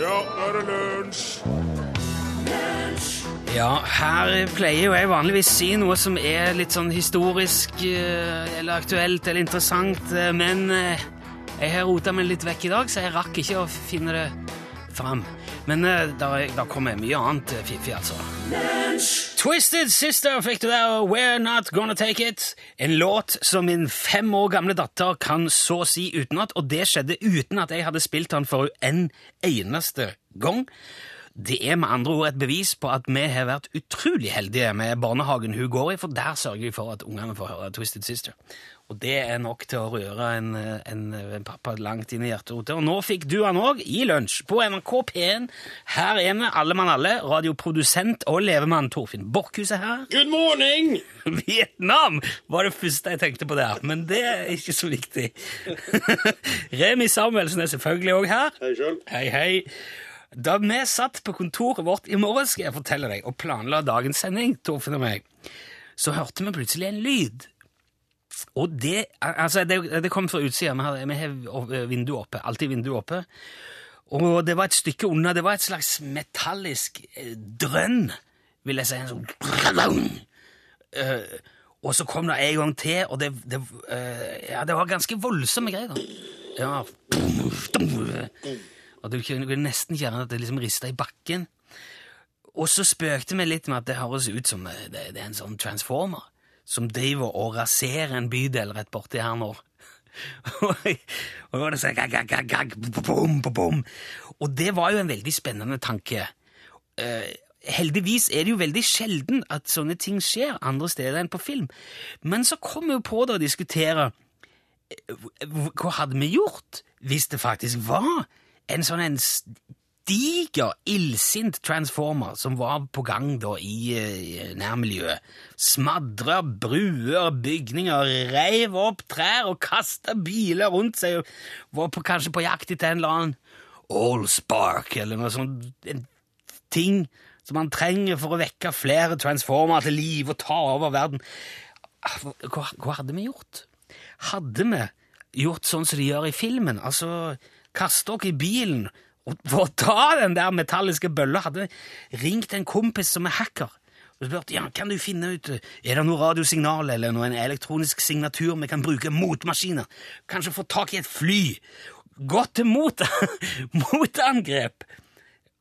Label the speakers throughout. Speaker 1: Ja, nå er det lunsj!
Speaker 2: Ja, her pleier jo jeg vanligvis si noe som er litt sånn historisk eh, eller aktuelt eller interessant, eh, men eh, jeg har rota meg litt vekk i dag, så jeg rakk ikke å finne det fram. Men det kommer mye annet eh, fiffig, altså. Twisted Sister fikk du der, og We're Not Gonna Take It. En låt som min fem år gamle datter kan så å si utenat, og det skjedde uten at jeg hadde spilt den for henne en eneste gang. Det er med andre ord et bevis på at vi har vært utrolig heldige med barnehagen hun går i, for der sørger vi for at ungene får høre Twisted Sister. Og det er nok til å røre en, en, en pappa langt inn i hjerterota. Og nå fikk du han òg, i lunsj, på NRK P1. Her er vi, alle mann alle, radioprodusent og levemann Torfinn Borchhus er her.
Speaker 1: Good morning!
Speaker 2: Vietnam var det første jeg tenkte på der, men det er ikke så viktig. Remi Samuelsen er selvfølgelig òg her.
Speaker 1: Hei sjøl.
Speaker 2: Hei, hei. Da vi satt på kontoret vårt i morgen, skal jeg fortelle deg, og planla dagens sending, Torfinn og meg, så hørte vi plutselig en lyd. Og det Altså, det, det kom fra utsida. Vi har- vi har vinduet oppe. Alltid vinduet oppe. Og det var et stykke unna. Det var et slags metallisk eh, drønn, vil jeg si. En sånn Eh, Og så kom det en gang til, og det, det, eh, ja, det var ganske voldsomme greier. Ja. Og du kunne kunne nesten kjenne at det liksom rista i bakken. Og så spøkte vi litt med at det høres ut som eh, det, det er en sånn transformer som driver og raserer en bydel rett borti her nå. og da var det sånn gag, gag, gag, gag, bom, bom, bom. Og det var jo en veldig spennende tanke. Eh, heldigvis er det jo veldig sjelden at sånne ting skjer andre steder enn på film. Men så kom vi jo på det å diskutere hv- hva hadde vi gjort hvis det faktisk var en sånn en s- diger, illsint transformer som var på gang da i, eh, i nærmiljøet? Smadra bruer, bygninger, reiv opp trær og kasta biler rundt seg og var på, kanskje på jakt etter en eller annen Allspark eller noe sånt. En ting som man trenger for å vekke flere transformer til liv og ta over verden. Ah, Hva, hva hadde vi gjort? Hadde vi gjort sånn som de gjør i filmen, altså kaste oss i bilen og for å ta den der metalliske bølla, hadde vi ringt en kompis som er hacker og spurt ja, kan du finne ut er det noe radiosignal eller noe, en elektronisk signatur vi kan bruke mot maskiner, kanskje få tak i et fly, gått til mot, motangrep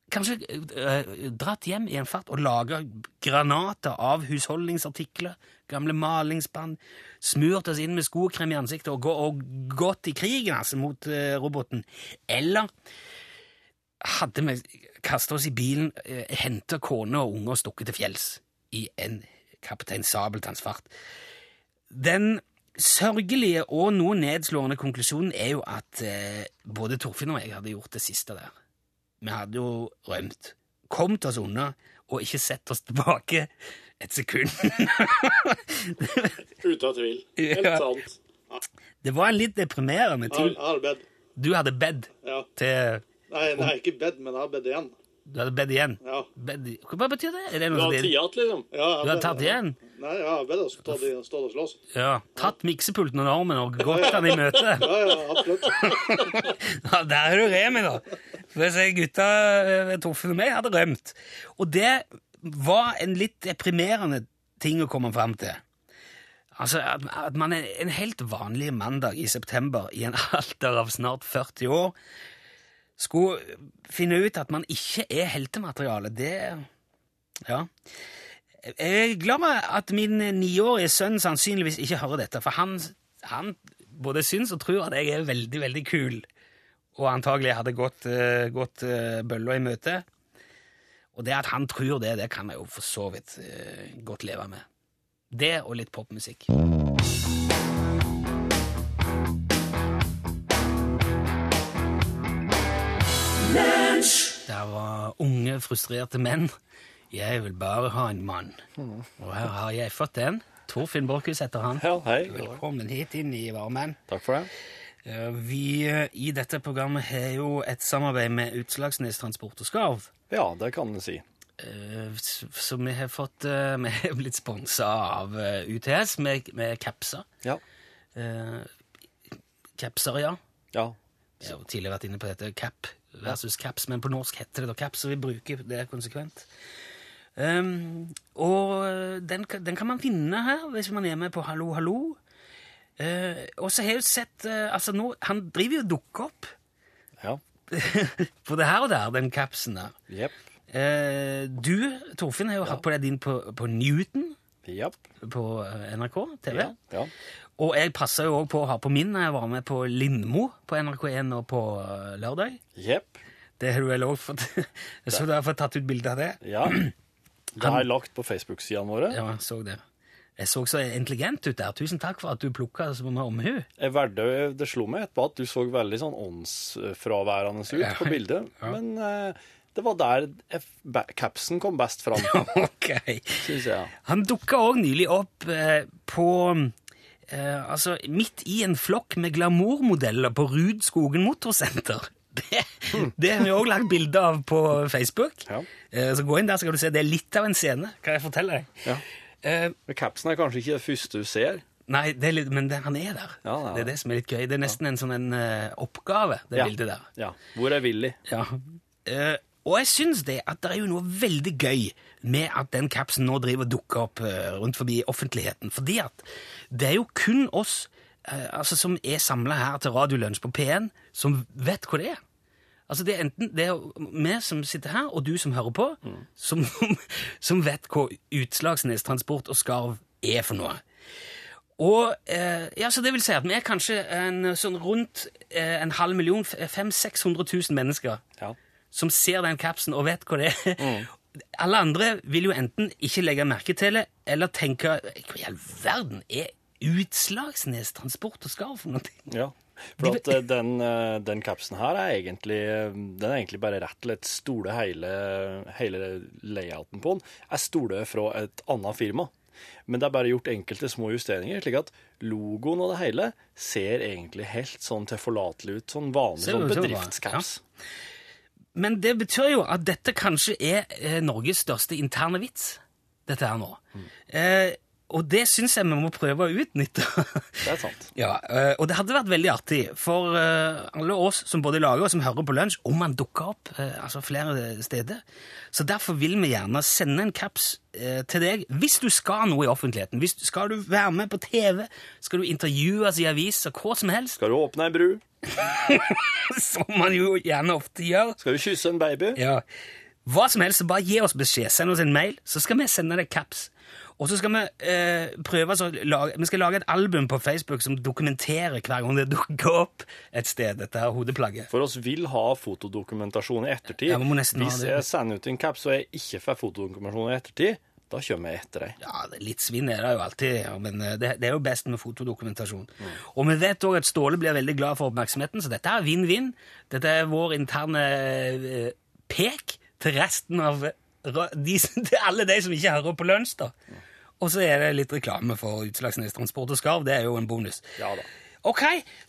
Speaker 2: kanskje eh, dratt hjem i en fart og laga granater av husholdningsartikler, gamle malingsband, smurt oss inn med skokrem i ansiktet og, gå, og gått i krigen altså, mot eh, roboten. Eller hadde vi kasta oss i bilen, uh, henta kone og unge og stukket til fjells i en Kaptein Sabeltanns fart? Den sørgelige og noe nedslående konklusjonen er jo at eh, både Torfinn og jeg hadde gjort det siste der. Vi hadde jo rømt. Kommet oss unna og ikke sett oss tilbake et sekund.
Speaker 1: Ute av tvil. Helt
Speaker 2: Ja.
Speaker 1: sant.
Speaker 2: Det var en litt deprimerende ting.
Speaker 1: Jeg har bedt.
Speaker 2: Du hadde bedt
Speaker 1: Ja.
Speaker 2: til
Speaker 1: Nei, nei, ikke bedt, men jeg har bedt igjen.
Speaker 2: Du hadde bedt igjen.
Speaker 1: Ja.
Speaker 2: Bedt, hva betyr det? Er det
Speaker 3: Du
Speaker 2: noe
Speaker 3: har
Speaker 2: sånt?
Speaker 3: tiat, liksom.
Speaker 1: Ja, jeg
Speaker 2: Du har
Speaker 1: bed-
Speaker 2: tatt igjen?
Speaker 1: Nei, jeg har bedt og stått i- stått og slåss.
Speaker 2: Ja. Tatt miksepulten og armen og gått den i møte?
Speaker 1: Ja, ja, absolutt.
Speaker 2: Ja, der er du Remi, da. For jeg sier gutta eh, Torfinn og meg hadde rømt. Og det var en litt deprimerende ting å komme fram til. Altså, at, at man er en helt vanlig mandag i september i en alder av snart 40 år skulle finne ut at man ikke er heltemateriale, det Ja. Jeg er glad for at min niårige sønn sannsynligvis ikke hører dette, for han, han både syns og tror at jeg er veldig, veldig kul og antagelig hadde gått, eh, gått eh, bølla i møte. Og det at han tror det, det kan jeg jo for så vidt eh, godt leve med. Det og litt popmusikk. Der var unge, frustrerte menn. Jeg vil bare ha en mann. Og her har jeg fått en. Torfinn Borchhus heter han.
Speaker 3: Ja, hei.
Speaker 2: Velkommen hit inn i varmen.
Speaker 3: Takk for det.
Speaker 2: Eh, Vi eh, i dette programmet har jo et samarbeid med Utslagsnes Transport og Skarv.
Speaker 3: Ja, det kan du si.
Speaker 2: eh, s- Så vi har fått eh, Vi har blitt sponsa av eh, UTS med, med capser.
Speaker 3: Ja.
Speaker 2: Eh, Capser, ja.
Speaker 3: Ja.
Speaker 2: Vi har jo tidligere vært inne på dette. Cap versus caps, men på norsk heter det da caps, så vi bruker det konsekvent. Ehm, og eh, den, ka- den kan man finne her hvis man er med på Hallo, hallo. Eh, og så har jeg jo sett eh, altså nå, Han driver jo og dukker opp
Speaker 3: Ja.
Speaker 2: både her og der, den capsen der.
Speaker 3: Jepp.
Speaker 2: Eh, du, Torfinn, har jo hatt på deg din på, på Newton
Speaker 3: Jepp.
Speaker 2: på eh, NRK TV.
Speaker 3: Ja. ja.
Speaker 2: Og jeg passa jo òg på å ha på min når jeg var med på Lindmo på NRK1 og på eh, lørdag.
Speaker 3: Jepp.
Speaker 2: Det har du vel òg fått Jeg så du har fått tatt ut bilde av det.
Speaker 3: Ja. Det har jeg lagt på Facebook-sidene våre.
Speaker 2: Ja, jeg så det. Jeg så så intelligent ut der. Tusen takk for at du plukka så med omhu.
Speaker 3: Jeg verdde, det slo meg etterpå at du så veldig sånn åndsfraværende ut
Speaker 2: Ja.
Speaker 3: på bildet. Men eh, det var der F ba- capsen kom best fram,
Speaker 2: Ok.
Speaker 3: syns jeg.
Speaker 2: Han dukka òg nylig opp eh, på eh, Altså midt i en flokk med glamourmodeller på Rud Skogen Motorsenter. Det, det har vi òg lagt bilde av på Facebook.
Speaker 3: Ja.
Speaker 2: Eh, så gå inn der, så kan du se. Det er litt av en scene, kan jeg fortelle deg.
Speaker 3: Ja.
Speaker 2: Eh,
Speaker 3: Men capsen er kanskje ikke det første du ser.
Speaker 2: nei, det er litt, men det, han er der.
Speaker 3: Ja, det er
Speaker 2: det er det som er litt gøy. Det er nesten en sånn en, eh, oppgave, det
Speaker 3: Ja.
Speaker 2: bildet der.
Speaker 3: Ja. Hvor er Willy?
Speaker 2: Ja. Eh, og jeg syns det at det er jo noe veldig gøy med at den capsen nå driver og dukker opp eh, rundt forbi offentligheten. Fordi at det er jo kun oss eh, altså som er samla her til Radiolunsj på P1, som vet hvor det er. Altså Det er enten det er vi som sitter her, og du som hører på, som, som vet hva Utslagsnes Transport og Skarv er for noe. Og eh, ja, så det vil si at vi er kanskje en, sånn rundt eh, en halv million, 500-600 000 mennesker
Speaker 3: Ja.
Speaker 2: som ser den kapsen og vet hva det er. Alle andre vil jo enten ikke legge merke til det, eller tenke hva i all verden er Utslagsnes Transport og Skarv for noe?
Speaker 3: Ja. For at eh, den, eh, den capsen her er egentlig, eh, den er egentlig bare rett og slett stole hele, hele layouten på den. Er stole fra et annet firma. Men det er bare gjort enkelte små justeringer, slik at logoen og det hele ser egentlig helt sånn tilforlatelig ut. Sånn vanlig
Speaker 2: Ser ut
Speaker 3: sånn
Speaker 2: som det var-
Speaker 3: bedriftscaps.
Speaker 2: Men det betyr jo at dette kanskje er eh, Norges største interne vits, dette her nå. Eh, og det syns jeg vi må prøve å utnytte.
Speaker 3: Det er sant.
Speaker 2: ja, eh, Og det hadde vært veldig artig for eh, alle oss som både lager og som hører på lunsj, om han dukker opp eh, altså flere steder. Så derfor vil vi gjerne sende en caps eh, til deg hvis du skal noe i offentligheten. Hvis, skal du være med på TV, skal du intervjues i aviser, hva som helst,
Speaker 3: Skal du åpne ei bru?
Speaker 2: som man jo gjerne ofte gjør.
Speaker 3: Skal du kysse en baby?
Speaker 2: Ja. Hva som helst, så bare gi oss beskjed. Send oss en mail, så skal vi sende deg caps. Og så skal vi eh, prøve å lage, vi skal lage et album på Facebook som dokumenterer hver gang det dukker opp et sted, dette her hodeplagget.
Speaker 3: For oss vil ha fotodokumentasjon i ettertid.
Speaker 2: Ja, vi må nesten ha
Speaker 3: Hvis
Speaker 2: det.
Speaker 3: jeg sender ut en caps og jeg ikke får fotodokumentasjon i ettertid, da kommer jeg etter deg.
Speaker 2: Ja, det er litt svinn er det jo alltid, ja, men eh, det, det er jo best med fotodokumentasjon. Og vi vet òg at Ståle blir veldig glad for oppmerksomheten, så dette er vinn-vinn. Dette er vår interne eh, pek til resten av ra- de, som- til alle de som ikke hører på lunsj, da. Og så er det litt reklame for Utslagsnes Transport og Skarv. Det er jo en bonus.
Speaker 3: Ja da.
Speaker 2: Ok,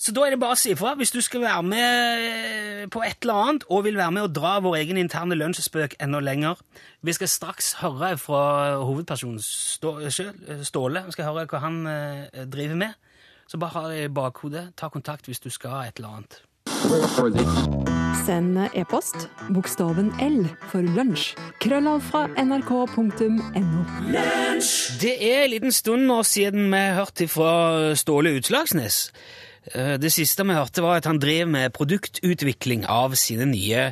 Speaker 2: så da er det bare å si ifra hvis du skal være med eh, på et eller annet, og vil være med å dra vår egen interne lunsjespøk enda lenger. Vi skal straks høre fra hovedpersonen Stå- sjøl, Ståle. Vi skal høre hva han eh, driver med. Så bare ha det i bakhodet. Ta kontakt hvis du skal et eller annet.
Speaker 4: Send e-post bokstaven L for lunsj. Krøllalfra nrk.no.
Speaker 2: Det er en liten stund nå siden vi hørte fra Ståle Utslagsnes. Eh, Det siste vi hørte, var at han drev med produktutvikling av sine nye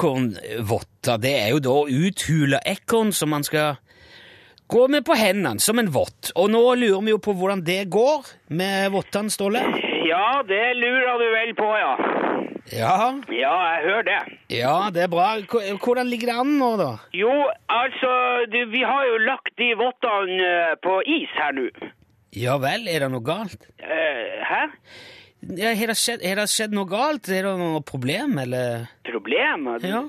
Speaker 2: ekornvotter. Det er jo da uthula ekorn som man skal gå med på hendene, som en vott. Og nå lurer vi jo på hvordan det går med vottene, Ståle.
Speaker 5: Ja, det lurer du vel på, ja.
Speaker 2: Ja,
Speaker 5: Ja, jeg hører det.
Speaker 2: ja, det er bra. Hvor- Hvordan ligger det an nå, da?
Speaker 5: Jo, altså, du, vi har jo lagt de vottene eh, på is her nå.
Speaker 2: Ja vel, er det noe galt?
Speaker 5: Eh, hæ?
Speaker 2: Ja, har, det skjedd, har det skjedd noe galt? Er det noe problem, eller?
Speaker 5: Problem?
Speaker 2: Ja.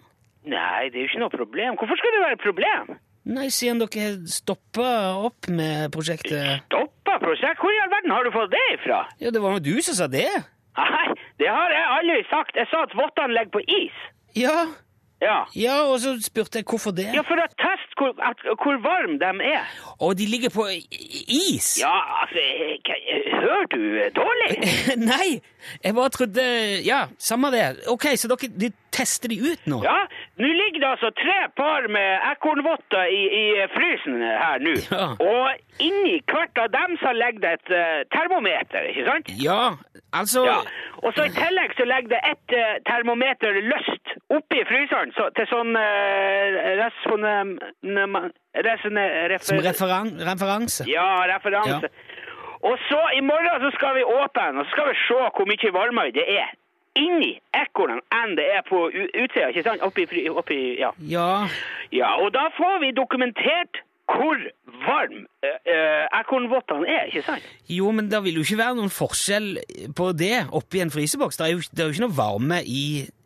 Speaker 5: Nei, det er jo ikke noe problem. Hvorfor skal det være et problem?
Speaker 2: Nei, siden dere stoppa opp med prosjektet
Speaker 5: Stoppa prosjekt? Hvor i all verden har du fått det ifra?
Speaker 2: Ja, det var jo du som sa det?
Speaker 5: Nei, det har jeg aldri sagt. Jeg sa at vottene ligger på is.
Speaker 2: Ja,
Speaker 5: Ja.
Speaker 2: ja, og så spurte jeg hvorfor det.
Speaker 5: Ja, for å teste hvor, at, hvor varm de er.
Speaker 2: Og de ligger på i- i- is!
Speaker 5: Ja, altså, eh, hva- eh, hører du eh, dårlig?
Speaker 2: Nei! Jeg bare trodde Ja, samme det. Ok, så dere de tester de ut nå?
Speaker 5: Ja, nå ligger det altså tre par med ekornvotter i, i frysen her nå.
Speaker 2: Ja.
Speaker 5: Og inni hvert av dem så ligger det et eh, termometer, ikke sant?
Speaker 2: Ja, altså
Speaker 5: Ja. Og så i tillegg så legger det et eh, termometer løst oppi fryseren så, til sånn eh, resonem... nema- resone- refer-
Speaker 2: Som referan referanse?
Speaker 5: Ja, referanse. Og så i morgen så skal vi åpne, og så skal vi se hvor mye varmere det er inni ekornen enn det er på u- utsida, ikke sant? Oppi, fri- oppi ja.
Speaker 2: Ja,
Speaker 5: ja. Og da får vi dokumentert hvor varm eh, eh, ekornvottene er, ikke sant?
Speaker 2: Jo, men det vil jo ikke være noen forskjell på det oppi en fryseboks. Det er jo, det er jo ikke noe varme i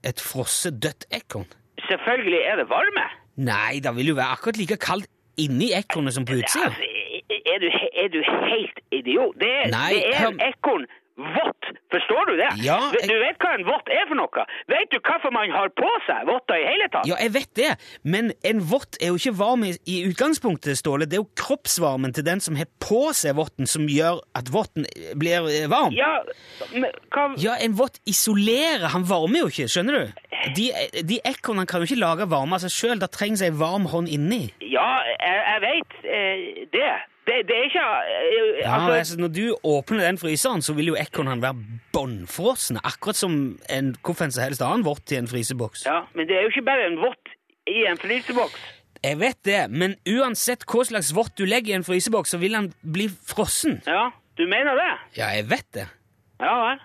Speaker 2: et frosset dødt ekorn.
Speaker 5: Selvfølgelig er det varme.
Speaker 2: Nei, det vil jo være akkurat like kaldt inni ekornet som på utsida.
Speaker 5: Altså, er, du, he- er du helt idiot? Det er,
Speaker 2: Nei,
Speaker 5: det er en
Speaker 2: hør-
Speaker 5: ekorn vått. Forstår du det?
Speaker 2: Ja,
Speaker 5: Du,
Speaker 2: jeg-
Speaker 5: du vet hva en vått er for noe? Vet du hvorfor man har på seg votter i hele tatt?
Speaker 2: Ja, jeg vet det, men en vått er jo ikke varm i, i utgangspunktet, Ståle. Det er jo kroppsvarmen til den som har på seg votten, som gjør at votten blir eh, varm.
Speaker 5: Ja, men hva
Speaker 2: Ja, en vått isolerer. Han varmer jo ikke, skjønner du? De, eh, de ekornene kan jo ikke lage varme av seg sjøl. Det trengs ei varm hånd inni.
Speaker 5: Ja, jeg, jeg veit eh, det. det. Det er ikke eh,
Speaker 2: Ja, men altså, Når du åpner den fryseren, så vil jo ekornene være bånnfrosne. Akkurat som en hvorfor som helst annen vått i en fryseboks.
Speaker 5: ja, men det er jo ikke bare en vått i en fryseboks.
Speaker 2: Jeg vet det, men uansett hva slags vått du legger i en fryseboks, så vil han bli frossen.
Speaker 5: Ja, du mener det?
Speaker 2: Ja, jeg vet det.
Speaker 5: Ja vel.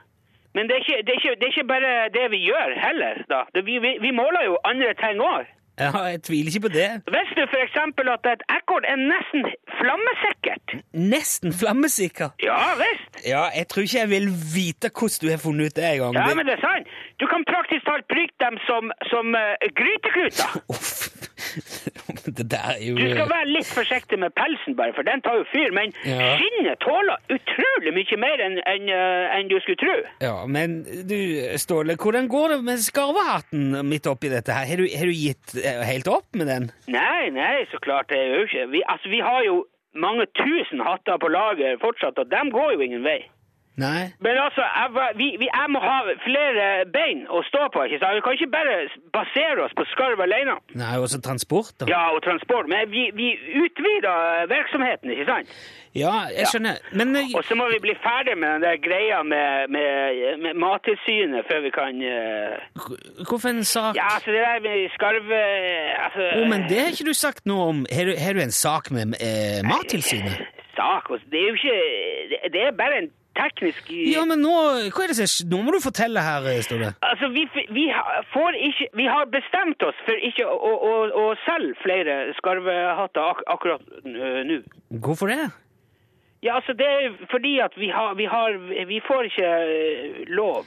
Speaker 5: Men det er, ikke, det, er ikke, det er ikke bare det vi gjør heller, da. Det, vi, vi, vi måler jo andre ting òg.
Speaker 2: Ja, Jeg tviler ikke på det.
Speaker 5: Visste du f.eks. at et ekorn er nesten flammesikkert?
Speaker 2: Nesten flammesikker.
Speaker 5: Ja visst!
Speaker 2: Ja, Jeg tror ikke jeg vil vite hvordan du har funnet ut det engang.
Speaker 5: Ja, men det er sant. Du kan praktisk talt bruke dem som, som eh, grytekluter.
Speaker 2: Uff. Det der er jo
Speaker 5: Du skal være litt forsiktig med pelsen, bare, for den tar jo fyr. Men
Speaker 2: Ja.
Speaker 5: skinnet tåler utrolig mye mer enn enn, eh, enn du skulle tro.
Speaker 2: Ja, men du, Ståle, hvordan går det med skarvehatten midt oppi dette her? Har du, har du gitt eh, helt opp med den?
Speaker 5: Nei, nei, så klart det er jo ikke vi, Altså, vi har jo mange tusen hatter på lager fortsatt, og dem går jo ingen vei.
Speaker 2: Nei.
Speaker 5: Men altså, jeg, var- vi, vi, jeg må ha flere bein å stå på, ikke sant? Vi kan ikke bare basere oss på skarv alene.
Speaker 2: Nei, også transport, da.
Speaker 5: Ja, og transport. Men vi, vi utvider virksomheten, ikke sant?
Speaker 2: Ja, jeg skjønner. Men eh,
Speaker 5: Og så må vi bli ferdig med den der greia med, med, med Mattilsynet før vi kan eh,
Speaker 2: h- hvorfor en sak
Speaker 5: Ja, altså det der med skarv eh, altså,
Speaker 2: Jo, men det har ikke du sagt noe om. Har du, har du en sak med eh, Mattilsynet?
Speaker 5: Sak, altså, det er jo ikke det- Det er bare en teknisk eh,
Speaker 2: Ja, men nå Hva er det som skj- Nå må du fortelle her, eh, Ståle.
Speaker 5: Altså, vi, f- vi, har- får ikke, vi har bestemt oss for ikke å, å, å, å selge flere skarvehatter ak akkurat eh, nå.
Speaker 2: Hvorfor det?
Speaker 5: Ja, altså, det er fordi at vi har Vi, har, vi får ikke eh, lov.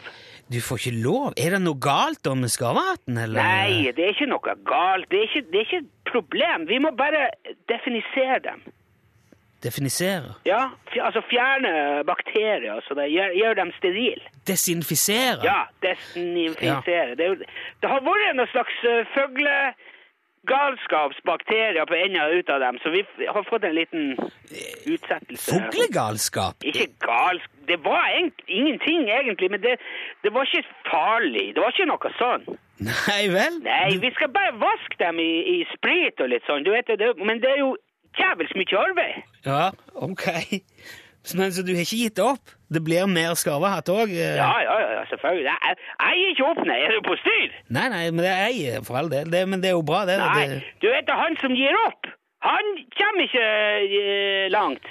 Speaker 2: Du får ikke lov. Er det noe galt om skarvehatten, eller? eh,
Speaker 5: Nei, det er ikke noe galt. Det er ikke, det er ikke et problem. Vi må bare definisere dem.
Speaker 2: Definisere.
Speaker 5: Ja, Fj- altså fjerne bakterier, så det gjør, gjør dem sterile.
Speaker 2: Desinfisere.
Speaker 5: Ja, desinfisere. Det, er jo- det har vært noen slags uh, fuglegalskapsbakterier på enda ut av dem, så vi f- har fått en liten utsettelse.
Speaker 2: Fuglegalskap.
Speaker 5: Ikke galsk... Det var egentlig, ingenting, egentlig, men det, det var ikke farlig. Det var ikke noe sånn.
Speaker 2: Nei vel?
Speaker 5: Nei, vi skal bare vaske dem i, i sprit og litt sånn, du vet det. det- Men det er jo jævels mye arbeid.
Speaker 2: Ja, ok. Så, men, så du har ikke gitt opp? Det blir mer eh? skarvehatt òg?
Speaker 5: Ja, ja, ja, ja, selvfølgelig. Jeg, jeg- jeg gir ikke opp, nei. Er du på styr?
Speaker 2: Nei, nei, men det er jeg, eh, for all del. Det, men det er jo bra, det.
Speaker 5: Nei,
Speaker 2: Det,
Speaker 5: du vet det er han som gir opp. Han kommer ikke eh, langt.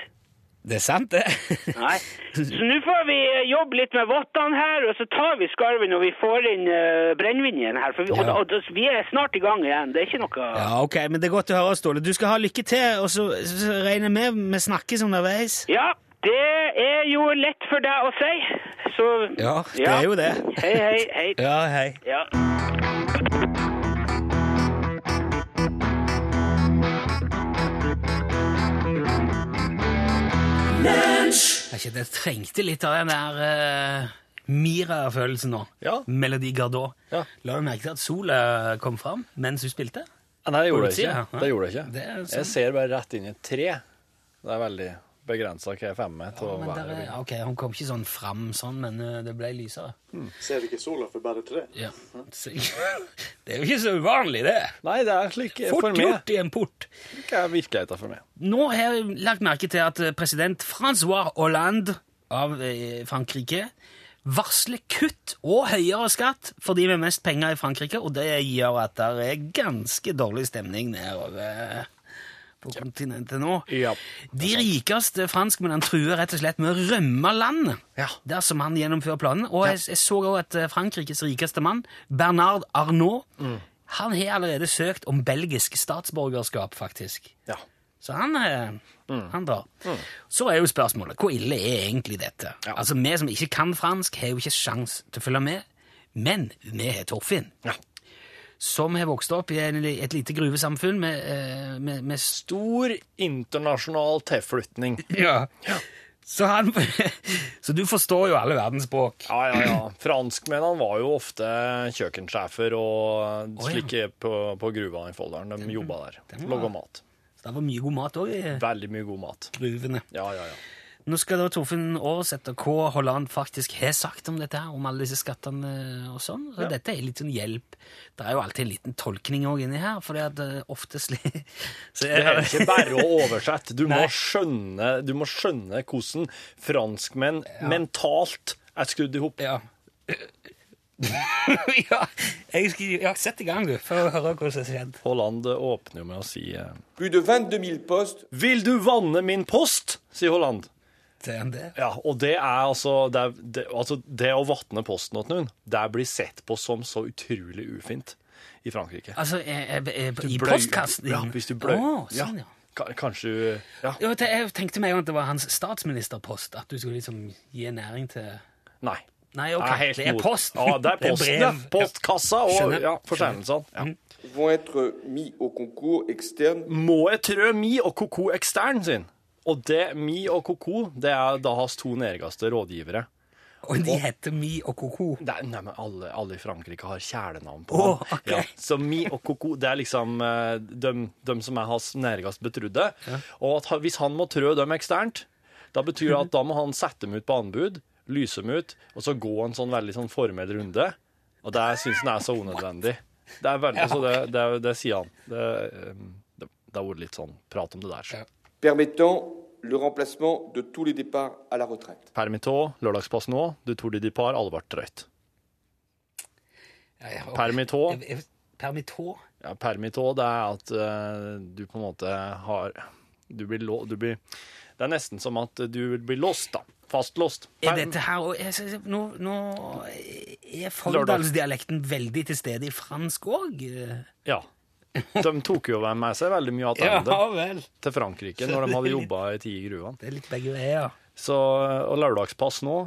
Speaker 2: det er sant, det.
Speaker 5: Nei. Så nå får vi eh, jobbe litt med vottene her, og så tar vi skarven og vi får inn uh, brennevin igjen her. For vi, og,
Speaker 2: Ja.
Speaker 5: og, og vi er snart i gang igjen. Det er ikke noe
Speaker 2: Ja, ok, men det er godt å høre, Ståle. Du skal ha lykke til, og så, så regner jeg med vi snakkes underveis.
Speaker 5: Ja, det er jo lett for deg å si. Så
Speaker 2: Ja, det er jo det.
Speaker 5: Hei, hei, hei.
Speaker 2: Ja, hei.
Speaker 5: Ja.
Speaker 2: Jeg, ikke, jeg trengte litt av den der uh, Mira-følelsen nå.
Speaker 3: Ja.
Speaker 2: Melodi Gardot.
Speaker 3: Ja.
Speaker 2: La du merke til at sola kom fram mens hun spilte?
Speaker 3: Nei, det gjorde
Speaker 2: På
Speaker 3: jeg
Speaker 2: utsida,
Speaker 3: ikke.
Speaker 2: ja.
Speaker 3: Det gjorde jeg ikke.
Speaker 2: Det er sånn.
Speaker 3: Jeg ser bare rett inn i et tre. Det er veldig begrensa hva jeg får med til å
Speaker 2: Men der,
Speaker 3: være i
Speaker 2: er- ok, Han kom ikke sånn fram sånn, men eh, det ble lysere.
Speaker 1: Ser ikke sola for bare tre.
Speaker 2: Ja. Så, det er jo ikke så uvanlig, det.
Speaker 3: Nei, det er slik for
Speaker 2: Fort
Speaker 3: meg.
Speaker 2: gjort i en port.
Speaker 3: Hva er virkeligheten for meg?
Speaker 2: Nå har jeg lagt merke til at eh, president Francois Hollande av eh, Frankrike varsler kutt og høyere skatt for de med mest penger i Frankrike, og det gjør at det er ganske dårlig stemning nedover eh, på kontinentet nå.
Speaker 3: Ja.
Speaker 2: De rikeste franskmennene truer rett og slett med å rømme landet
Speaker 3: Ja.
Speaker 2: dersom han gjennomfører planen. Og jeg, jeg så også at eh, Frankrikes rikeste mann, Bernard Arnault,
Speaker 3: Mm.
Speaker 2: han har allerede søkt om belgisk statsborgerskap, faktisk.
Speaker 3: Ja.
Speaker 2: Så han, eh,
Speaker 3: Mm.
Speaker 2: han drar. Så er jo spørsmålet hvor ille er egentlig dette?
Speaker 3: Ja.
Speaker 2: Altså, Vi som ikke kan fransk, har jo ikke sjans til å følge med. Men vi har Torfinn,
Speaker 3: Ja.
Speaker 2: som har vokst opp i en, et lite gruvesamfunn med, eh, med, med s-
Speaker 3: Stor internasjonal tilflytning.
Speaker 2: ja. Så, han, så du forstår jo alle verdens språk.
Speaker 3: Ja, ja, ja. Franskmennene var jo ofte kjøkkensjefer og
Speaker 2: ja.
Speaker 3: slike på, på gruva i Folldalen. De jobba der. Laga mat.
Speaker 2: Så det var mye god mat òg i
Speaker 3: Veldig mye god mat.
Speaker 2: gruvene.
Speaker 3: Ja, ja, ja.
Speaker 2: Nå skal da Torfinn oversette hva Holland faktisk har sagt om dette, her, om alle disse skattene og sånn. Så dette er litt sånn hjelp. Det er jo alltid en liten tolkning òg inni her, for det er ofte slik Så
Speaker 3: Det er
Speaker 2: er
Speaker 3: ikke bare å oversette. Du må
Speaker 2: Nei.
Speaker 3: skjønne, du må skjønne hvordan franskmenn mentalt er skrudd i hop.
Speaker 2: Ja. ja, jeg skal ja, sett i gang, du, for å høre hva som har skjedd.
Speaker 3: Holland åpner jo med å si eh,
Speaker 6: Plus de 22 000 postes
Speaker 3: Vil du vanne min post? sier Holland.
Speaker 2: Ser han det?
Speaker 3: Ja, og det er altså Det, er, det, altså, det å vatne posten åt noen, det blir sett på som så utrolig ufint i Frankrike.
Speaker 2: Altså, jeg, jeg, jeg, i
Speaker 3: Bløy-
Speaker 2: postkassen din?
Speaker 3: Ja, hvis du bløy.
Speaker 2: Å, sånn, ja.
Speaker 3: Ka- Kanskje du Ja.
Speaker 2: Jo, det- Jeg tenkte meg jo at det var hans statsministerpost, at du skulle liksom gi næring til
Speaker 3: Nei.
Speaker 2: Nei, ok.
Speaker 3: Jeg er helt
Speaker 2: Det er
Speaker 3: mot-
Speaker 2: posten.
Speaker 3: Ja, det er
Speaker 2: Det er
Speaker 3: posten.
Speaker 2: brev.
Speaker 3: ja. Postkassa og
Speaker 2: Skjønner.
Speaker 3: ja, forsendelsene. Ja.
Speaker 6: vont être mis au concours externe
Speaker 3: Må jeg trø mi og ko-ko ekstern sin? Og det mi og ko-ko, det er da hans to nedergaste rådgivere.
Speaker 2: Og de heter Mi og Koko.
Speaker 3: Det er, nei, men alle, alle i Frankrike har kjælenavn på
Speaker 2: Å,
Speaker 3: ham.
Speaker 2: ok.
Speaker 3: så mi og koko, det er liksom eh, dem, dem som er hans nærmest betrudde. Og at, han- hvis han må trø dem eksternt, da betyr det at da må han sette dem ut på anbud, lyse dem ut, og så gå en sånn veldig sånn formell runde. Og det syns han er så unødvendig. Det er veldig, så det, det, det sier han. Det, eh, det, det har vært litt sånn prat om det der.
Speaker 2: Ja.
Speaker 6: permettant le remplacement de tous les départs à la retraite.
Speaker 3: Permitå, lørdagspass nå, du tror de de par, alle ble drøyt. Permitå,
Speaker 2: Eh, Permitå?
Speaker 3: Ja, permitå, det er at eh, du på en måte har Du blir lå... Du blir Det er nesten som at du blir låst, da. Fastlåst.
Speaker 2: Er
Speaker 3: Perm-
Speaker 2: dette her og jeg, synes- nå, nå er Folldalsdialekten veldig til stede i fransk òg.
Speaker 3: Ja. De tok jo med seg veldig mye tilbake
Speaker 2: vel.
Speaker 3: til Frankrike når de hadde jobba i ti i gruvene.
Speaker 2: Det er litt begge veier.
Speaker 3: Så, eh, og lørdagspass nå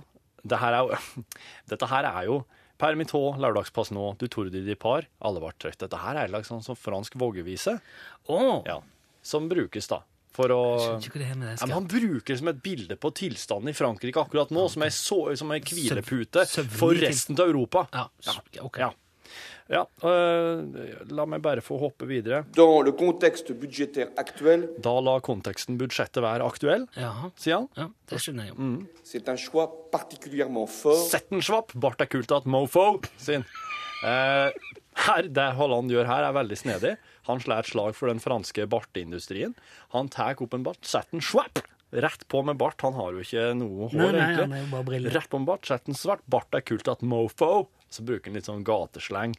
Speaker 3: det her er jo, Dette her er jo Permitå, lørdagspass nå, du torde de par, alle ble trøtt. Dette her er liksom sånn fransk voggevise,
Speaker 2: Å!
Speaker 3: ja, som brukes da for å
Speaker 2: Skjønner ikke hva det er med det.
Speaker 3: Ja,
Speaker 2: Skal.
Speaker 3: men han bruker det som et bilde på tilstanden i Frankrike akkurat nå, som ei så- som ei hvilepute
Speaker 2: Søv- søvnig
Speaker 3: for resten av Europa.
Speaker 2: Ja, s- ok.
Speaker 3: Ja. Ja, øh, la meg bare få hoppe videre.
Speaker 6: Dans le contexte budgétaire actuel,
Speaker 3: Da la konteksten budsjettet være aktuell,
Speaker 2: Jaha.
Speaker 3: sier han.
Speaker 2: Ja, det skjønner jeg jo.
Speaker 3: Mm.
Speaker 6: c'est un choix particulièrement fort
Speaker 3: Settenschwapp, bart er kult at mofo, sin. Eh, her, det Holland gjør her, er veldig snedig. Han slår et slag for den franske barteindustrien. Han tar opp en bart, setter en schwapp, rett på med bart. Han har jo ikke noe hår,
Speaker 2: Nei, nei,
Speaker 3: egentlig.
Speaker 2: han er jo bare briller.
Speaker 3: Rett på med bart, setter en svart. Bart er kult at mofo. Så bruker han litt sånn gatesleng.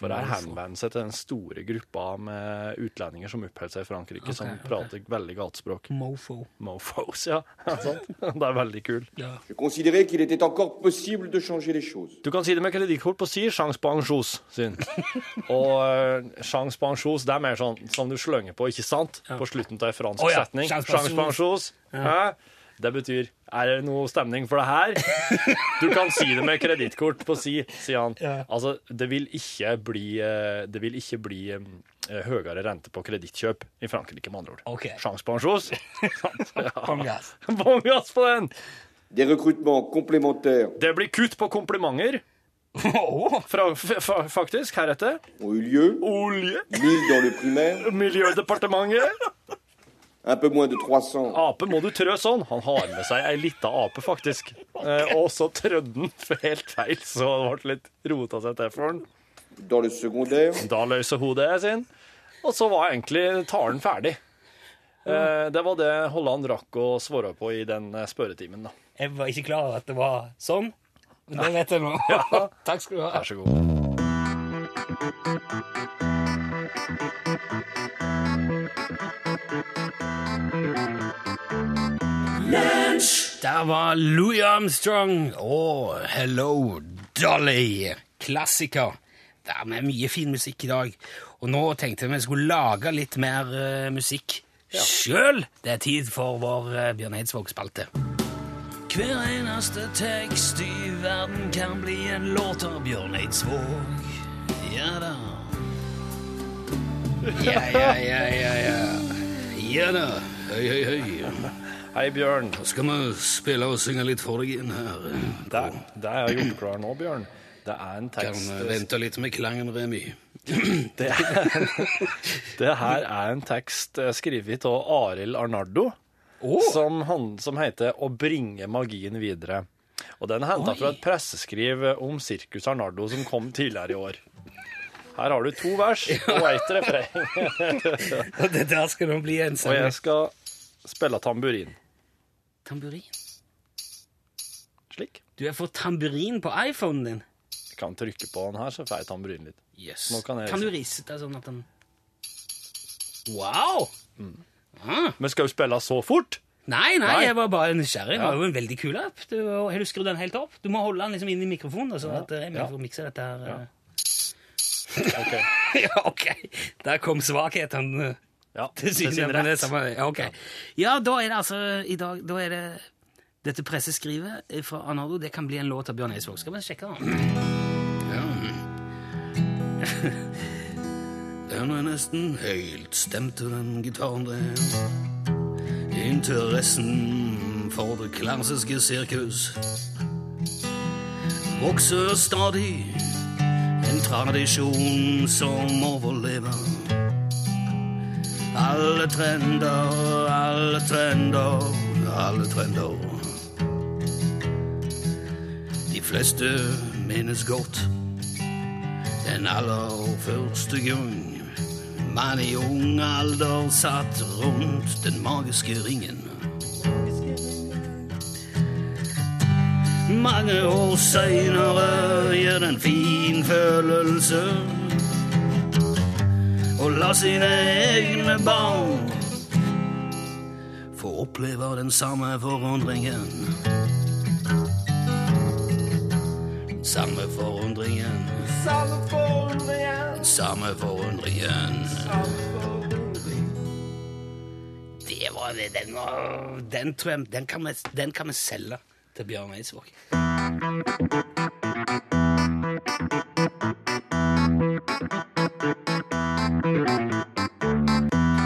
Speaker 3: For her henvender seg til den store gruppa med utlendinger som oppholder seg i Frankrike, som prater veldig gatespråk.
Speaker 2: Mofo.
Speaker 3: Mofos, ja. Sant? Det er veldig kult.
Speaker 6: Je considérais qu'il était encore possible de changer les choses.
Speaker 3: Du kan si det med kredittkort på si, sjans pensjons, sin. Og eh, sjans pensjons, det er mer sånn som du slenger på, ikke sant? På slutten av en fransk
Speaker 2: Å ja,
Speaker 3: setning.
Speaker 2: sjans
Speaker 3: Sjans pensjons. Hæ? Det betyr, er det noe stemning for det her? Du kan si det med kredittkort på si, sier han. Altså, det vil ikke bli, eh, det vil ikke bli eh, høyere rente på kredittkjøp i Frankrike, med andre ord.
Speaker 2: Ok.
Speaker 3: Sjans pensjons.
Speaker 2: Kom, gass.
Speaker 3: Bong gass på den!
Speaker 6: Des recrutements complémentaires
Speaker 3: Det blir kutt på komplimenter. Fra, f- fa- faktisk, heretter.
Speaker 6: ont eu lieu,
Speaker 3: Olje.
Speaker 6: 1000 dans le primaire,
Speaker 3: Miljødepartementet.
Speaker 6: un peu moins de 300.
Speaker 3: Ape må du trø sånn! Han har med seg ei lita ape, faktisk. Eh, og så trødde han helt feil, så det ble litt rota seg til for han.
Speaker 6: Dans le secondaire,
Speaker 3: Da løser hodet sin. Og så var egentlig talen ferdig. Eh, det var det Holland rakk å svare på i den eh, spørretimen, da.
Speaker 2: Jeg var ikke klar over at det var sånn, men det vet jeg nå. Takk skal du ha.
Speaker 3: Vær så god.
Speaker 2: Der var Louis Armstrong og Hello Dolly. Klassiker. Det er med mye fin musikk i dag. Og nå tenkte jeg vi skulle lage litt mer eh, musikk sjøl. Det er tid for vår eh, Bjørn Eidsvåg-spalte. Hver eneste tekst i verden kan bli en låt av Bjørn Eidsvåg. Ja da. Ja, ja, ja, ja, ja. Ja da. Høy, høy, høy.
Speaker 3: Hei, Bjørn.
Speaker 2: Da skal vi spille og synge litt for deg igjen her.
Speaker 3: Det, det er gjort klar nå, Bjørn. Det er en
Speaker 2: Kan
Speaker 3: tekst
Speaker 2: eh, vente litt med klangen remy.
Speaker 3: Det, det her er en tekst eh, skrevet av Arild Arnardo, som, han, som heter 'Å bringe magien videre'. Og Den er henta fra et presseskriv eh, om Sirkus Arnardo som kom tidligere i år. Her har du to vers og et refreng,
Speaker 2: Og det der skal nå bli en
Speaker 3: og jeg skal spille tamburin.
Speaker 2: Tamburin.
Speaker 3: Slik.
Speaker 2: Du har fått tamburin på iPhonen din.
Speaker 3: Jeg kan trykke på den her, så får jeg tamburin litt.
Speaker 2: Yes.
Speaker 3: Nå kan jeg-
Speaker 2: du riste deg sånn at den Wow! Ah.
Speaker 3: Men skal du spille så fort?
Speaker 2: Nei, nei,
Speaker 3: Nei.
Speaker 2: jeg var bare nysgjerrig. Det var jo en veldig kul app. Du, og har du skrudd den helt opp? Du må holde den liksom inn i mikrofonen, da, sånn at eh,
Speaker 3: Ja.
Speaker 2: jeg får mikse dette her. eh.
Speaker 3: Ok.
Speaker 2: ja, ok. Der kom svakheten eh,
Speaker 3: Ja,
Speaker 2: til
Speaker 3: det
Speaker 2: syne.
Speaker 3: synes
Speaker 2: Men det er
Speaker 3: rett.
Speaker 2: samme, det. ja, ok. ja, da er det altså i dag Da er det dette presseskrivet fra Arnardo. Det kan bli en låt av Bjørn Eidsvåg. Skal vi sjekke den? Ja. Den er nesten helt stemt, den gitaren der. Interessen for det klassiske sirkus vokser stadig. En tradisjon som overlever. Alle trender, alle trender, alle trender. De fleste minnes godt den aller første gang man i ung alder satt rundt den magiske ringen. Mange år seinere gir det en fin følelse og la sine egne barn få oppleve den samme forundringen. Samme forundringen. Samme forundringen. Det var det. Den, var, den tror jeg den kan, vi, den kan vi selge til Bjørn Eidsvåg.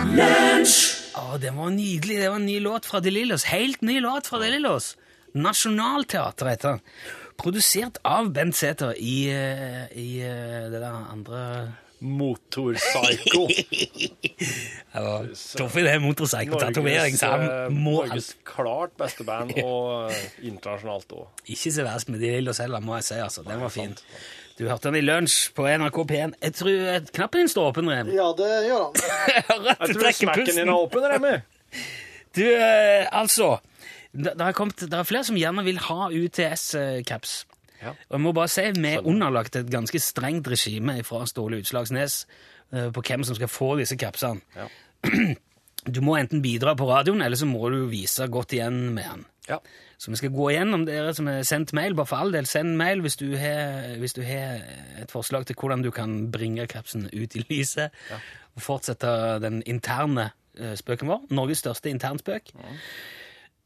Speaker 2: Å, den var nydelig. Det var en ny låt fra De Lillos. Helt ny låt fra De Lillos. Nationalteatret heter den. Produsert av Bent Sæther i, eh, i eh, det der andre
Speaker 3: Motorpsycho.
Speaker 2: Toffi, det er motorpsykotatovering, så
Speaker 3: eh,
Speaker 2: han må
Speaker 3: Norges klart beste band, og eh, internasjonalt òg.
Speaker 2: Ikke så verst med De Lillos heller, må jeg si. altså. Den var fin. Du hørte den i lunsj på NRK P1. Jeg tror eh, knappen din står åpen, Rem.
Speaker 1: Ja, det gjør han.
Speaker 2: Jeg hører at
Speaker 3: Jeg
Speaker 2: du
Speaker 3: tror
Speaker 2: trekker
Speaker 3: smekken din
Speaker 2: pusten.
Speaker 3: er åpen, Remi.
Speaker 2: Du, eh, altså Det det har kommet, det er flere som gjerne vil ha UTS-caps. eh,
Speaker 3: Ja. Sånn.
Speaker 2: Og jeg må bare si, Vi er underlagt et ganske strengt regime fra Ståle Utslagsnes eh, på hvem som skal få disse capsene.
Speaker 3: Ja.
Speaker 2: Du må enten bidra på radioen, eller så må du vise godt igjen med den.
Speaker 3: Ja.
Speaker 2: Så vi skal gå igjennom dere som har sendt mail. Bare for all del, send mail hvis du har, hvis du har et forslag til hvordan du kan bringe kapsen ut i lyset. Og fortsette den interne eh, spøken vår. Norges største internspøk.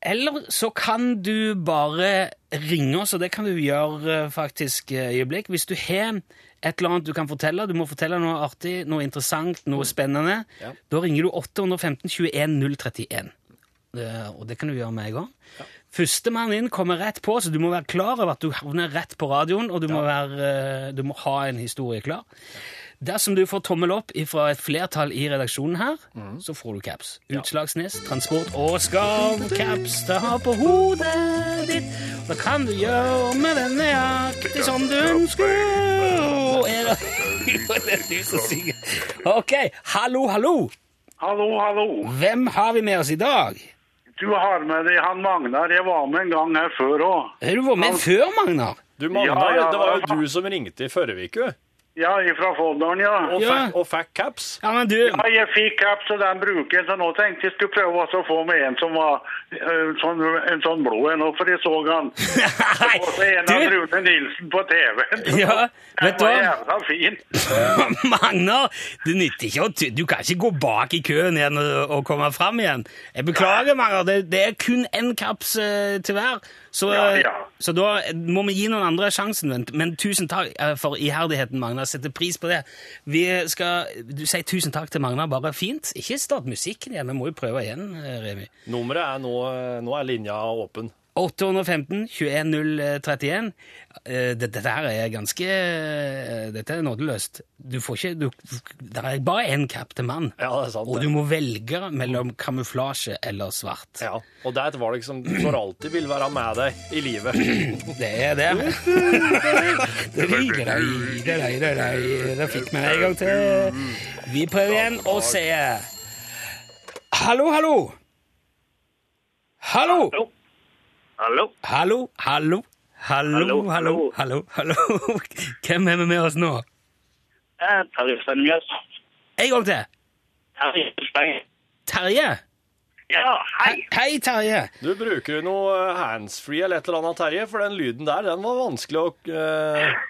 Speaker 2: Eller så kan du bare ringe oss, og det kan du gjøre eh, faktisk eh, øyeblikk. Hvis du har et eller annet du kan fortelle, du må fortelle noe artig, noe interessant, noe spennende,
Speaker 3: Ja.
Speaker 2: da ringer du 815 21 031. Eh, Og det kan du gjøre med en gang. Førstemann inn kommer rett på, så du må være klar over at du havner rett på radioen, og du, må, være, eh, du må ha en historie klar. Dersom du får tommel opp fra et flertall i redaksjonen her, så får du caps. Utslagsnes, transport og skarv. Caps det har på hodet ditt. Hva kan du gjøre med den nøyaktig som du ønsker? Og er det Det er du
Speaker 7: Sånn.
Speaker 2: som synger? OK. Hallo, hallo.
Speaker 7: Hallo, hallo.
Speaker 2: Hvem har vi med oss i dag?
Speaker 7: Du har med deg han Magnar. Jeg var med en gang her før òg.
Speaker 2: Har du vært med før, Magnar?
Speaker 3: Du, Magnar,
Speaker 7: Ja, ja.
Speaker 3: det var jo du som ringte i forrige uke
Speaker 7: Ja, ifra Folldalen, ja.
Speaker 3: og,
Speaker 2: Ja.
Speaker 3: fikk- og fikk caps.
Speaker 2: Ja, men du
Speaker 7: ja. Jeg fikk app, så den bruker jeg. Så nå tenkte jeg skulle prøve også å få med en som var eh, sånn, en sånn blå en òg, for jeg så han.
Speaker 2: Nei,
Speaker 7: Og så en av
Speaker 2: du
Speaker 7: Rune Nilsen på TV.
Speaker 2: Ja,
Speaker 7: Den
Speaker 2: vet du
Speaker 7: var
Speaker 2: hva?
Speaker 7: jævla fin.
Speaker 2: Magnar, det nytter ikke å ty- Du kan ikke gå bak i køen igjen og og komme fram igjen. Jeg beklager, Magnar. Det, det er kun én kaps eh, til hver. Så,
Speaker 7: Ja,
Speaker 2: eh,
Speaker 7: ja.
Speaker 2: så da må vi gi noen andre sjansen. vent. Men tusen takk eh, for iherdigheten, Magnar. Setter pris på det. Vi skal, du sier tusen takk til Magnar. Bare fint. Ikke start musikken igjen. Vi må jo prøve igjen, eh, Remi.
Speaker 3: Nummeret er nå Nå er linja åpen.
Speaker 2: 815 21031. Eh, Dette her er ganske eh, Dette er nådeløst. Du får ikke du, Det er bare én cap til mann,
Speaker 3: Ja, det er sant.
Speaker 2: og
Speaker 3: det.
Speaker 2: du må velge mellom kamuflasje eller svart.
Speaker 3: Ja, og det er et valg som for alltid vil være med deg i livet.
Speaker 2: Det er det. Det liker deg, det deg, det deg. Det fikk vi en gang til. Vi prøver igjen og sier Hallo, hallo! Hallo!
Speaker 5: Hallo?
Speaker 2: Hallo, hallo, hallo,
Speaker 5: Hallo,
Speaker 2: hallo, hallo, hallo. Hvem er vi med oss nå?
Speaker 5: Jeg er Terje Stengnes.
Speaker 2: En gang til.
Speaker 5: Terje Stengnes.
Speaker 2: Terje.
Speaker 5: Ja, hei.
Speaker 2: Hei, Terje.
Speaker 3: Du bruker jo noe eh, handsfree eller et eller annet, Terje, for den lyden der, den var vanskelig å eh,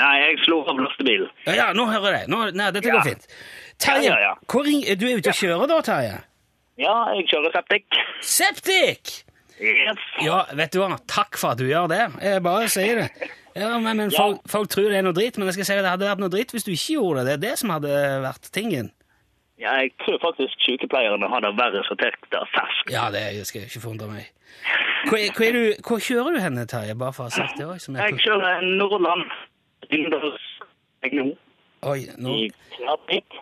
Speaker 5: Nei, jeg slo av lastebilen.
Speaker 2: Ja, ja, nå hører jeg deg. Nå- Nei, dette går fint. Terje,
Speaker 5: Ja, ja, ja.
Speaker 2: hvor ring- du er ute og kjører da, Terje?
Speaker 5: Ja, jeg kjører septik.
Speaker 2: Septik!
Speaker 5: Yes.
Speaker 2: Ja, vet du hva? Takk for at du gjør det. Jeg bare sier det. Ja, men, men folk, folk tror det er noe dritt, men jeg skal si at det hadde vært noe dritt hvis du ikke gjorde det. Det er det som hadde vært tingen.
Speaker 5: Ja, jeg tror faktisk sykepleierne har det verre sortert der fersk.
Speaker 2: Ja, det skal jeg ikke forundre meg. Hvor, er- hvor, er du, hvor kjører du henne, Terje? Bare for å ha sagt det også. som jeg-
Speaker 5: Jeg kjører Nordland innendørs jeg nå
Speaker 2: Oi,
Speaker 5: i
Speaker 2: nå,
Speaker 5: Knarvik.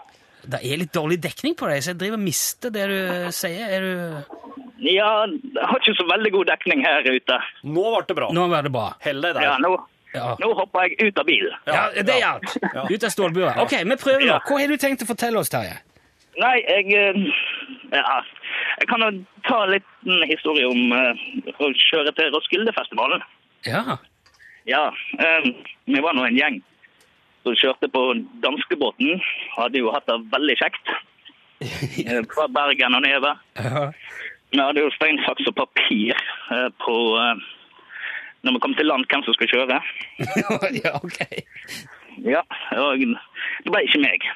Speaker 2: det er litt dårlig dekning på deg, så jeg driver og mister det du sier. Er du...
Speaker 5: Ja, jeg har ikke så veldig god dekning her ute.
Speaker 3: Nå ble det bra.
Speaker 2: Nå var det bra.
Speaker 3: Hell deg
Speaker 5: Ja,
Speaker 3: der.
Speaker 5: nå,
Speaker 2: Ja.
Speaker 5: nå hopper jeg ut av bilen.
Speaker 2: Ja, det hjalp. Ut av stålbua. Ok, vi prøver nå.
Speaker 5: Ja.
Speaker 2: Hva har du tenkt å fortelle oss, Terje?
Speaker 5: Nei, jeg eh, Ja. Jeg kan jo ta en liten historie om eh, å kjøre til Roskildefestivalen.
Speaker 2: Ja.
Speaker 5: Ja, eh, vi var nå en gjeng som kjørte på danskebåten. Hadde jo hatt det veldig kjekt. Eh, Fra Bergen og nedover.
Speaker 2: Ja.
Speaker 5: Vi hadde jo stein, saks og papir eh, på eh, når vi kom til land, hvem som skulle kjøre.
Speaker 2: ja, ok.
Speaker 5: Ja, og Det ble ikke meg.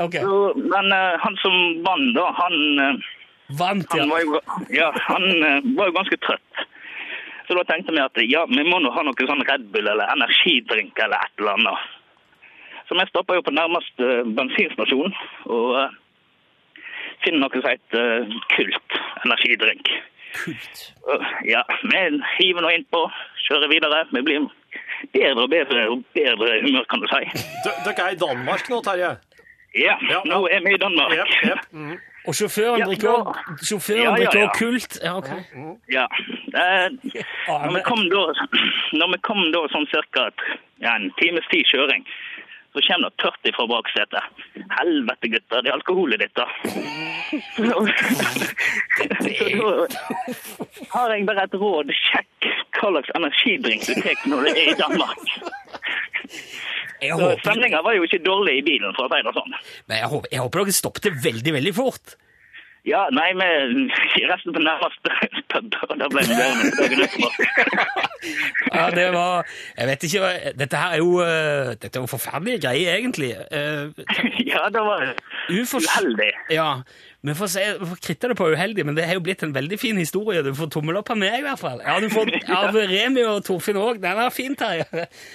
Speaker 2: Ok.
Speaker 5: Så, men eh, han som vant, da, han eh,
Speaker 2: Vant,
Speaker 5: Han, var
Speaker 2: ja.
Speaker 5: jo, ja, han eh, var jo ganske trøtt. Så da tenkte vi at ja, vi må nå ha noe sånn Red Bull eller energidrink eller et eller annet. Så vi stopper jo på nærmeste bensinstasjon og eh, finner noe som heter eh, Kult energidrink.
Speaker 2: Kult.
Speaker 5: Og, ja, vi hiver nå innpå, kjører videre. Vi blir bedre og bedre og bedre humør, kan du si.
Speaker 3: D- Dere er i Danmark nå, Terje.
Speaker 5: Ja,
Speaker 3: Ja,
Speaker 5: nå er vi i Danmark.
Speaker 3: Jep, jep. Mm.
Speaker 2: Og sjåføren
Speaker 5: Ja,
Speaker 2: drikker
Speaker 5: nå-
Speaker 2: også sjåføren
Speaker 5: Ja, ja,
Speaker 2: drikker
Speaker 5: ja.
Speaker 2: også kult. Ja, ok.
Speaker 5: Ja. Eh,
Speaker 2: Ah,
Speaker 5: Når vi
Speaker 2: men-
Speaker 5: kom da, når vi kom da sånn cirka et, ja, en times tid kjøring, så kommer det tørt ifra baksetet. Helvete, gutter, det er alkoholet ditt, da. Så, så da har jeg bare et råd. Sjekk hva slags energidrink du tar når du er i Danmark.
Speaker 2: jeg,
Speaker 5: Så
Speaker 2: håper,
Speaker 5: Stemninga var jo ikke dårlig i bilen, for å si det sånn.
Speaker 2: men jeg, håper, jeg håper dere stoppet veldig, veldig fort.
Speaker 5: Ja, nei, men resten på nærmeste pub, og da ble vi værende dagen etterpå.
Speaker 2: Ja, det var Jeg vet ikke hva- Dette her er jo eh, Dette er jo forferdelige greier, egentlig. Eh,
Speaker 5: Ja, det var
Speaker 2: Uforsk-
Speaker 5: uheldig.
Speaker 2: Ja. Vi får, se, vi får kritte det på uheldig, men det har jo blitt en veldig fin historie. Du får tommel opp av meg, i hvert fall. Ja, du får av Remi og Torfinn òg. Den er fin, Terje.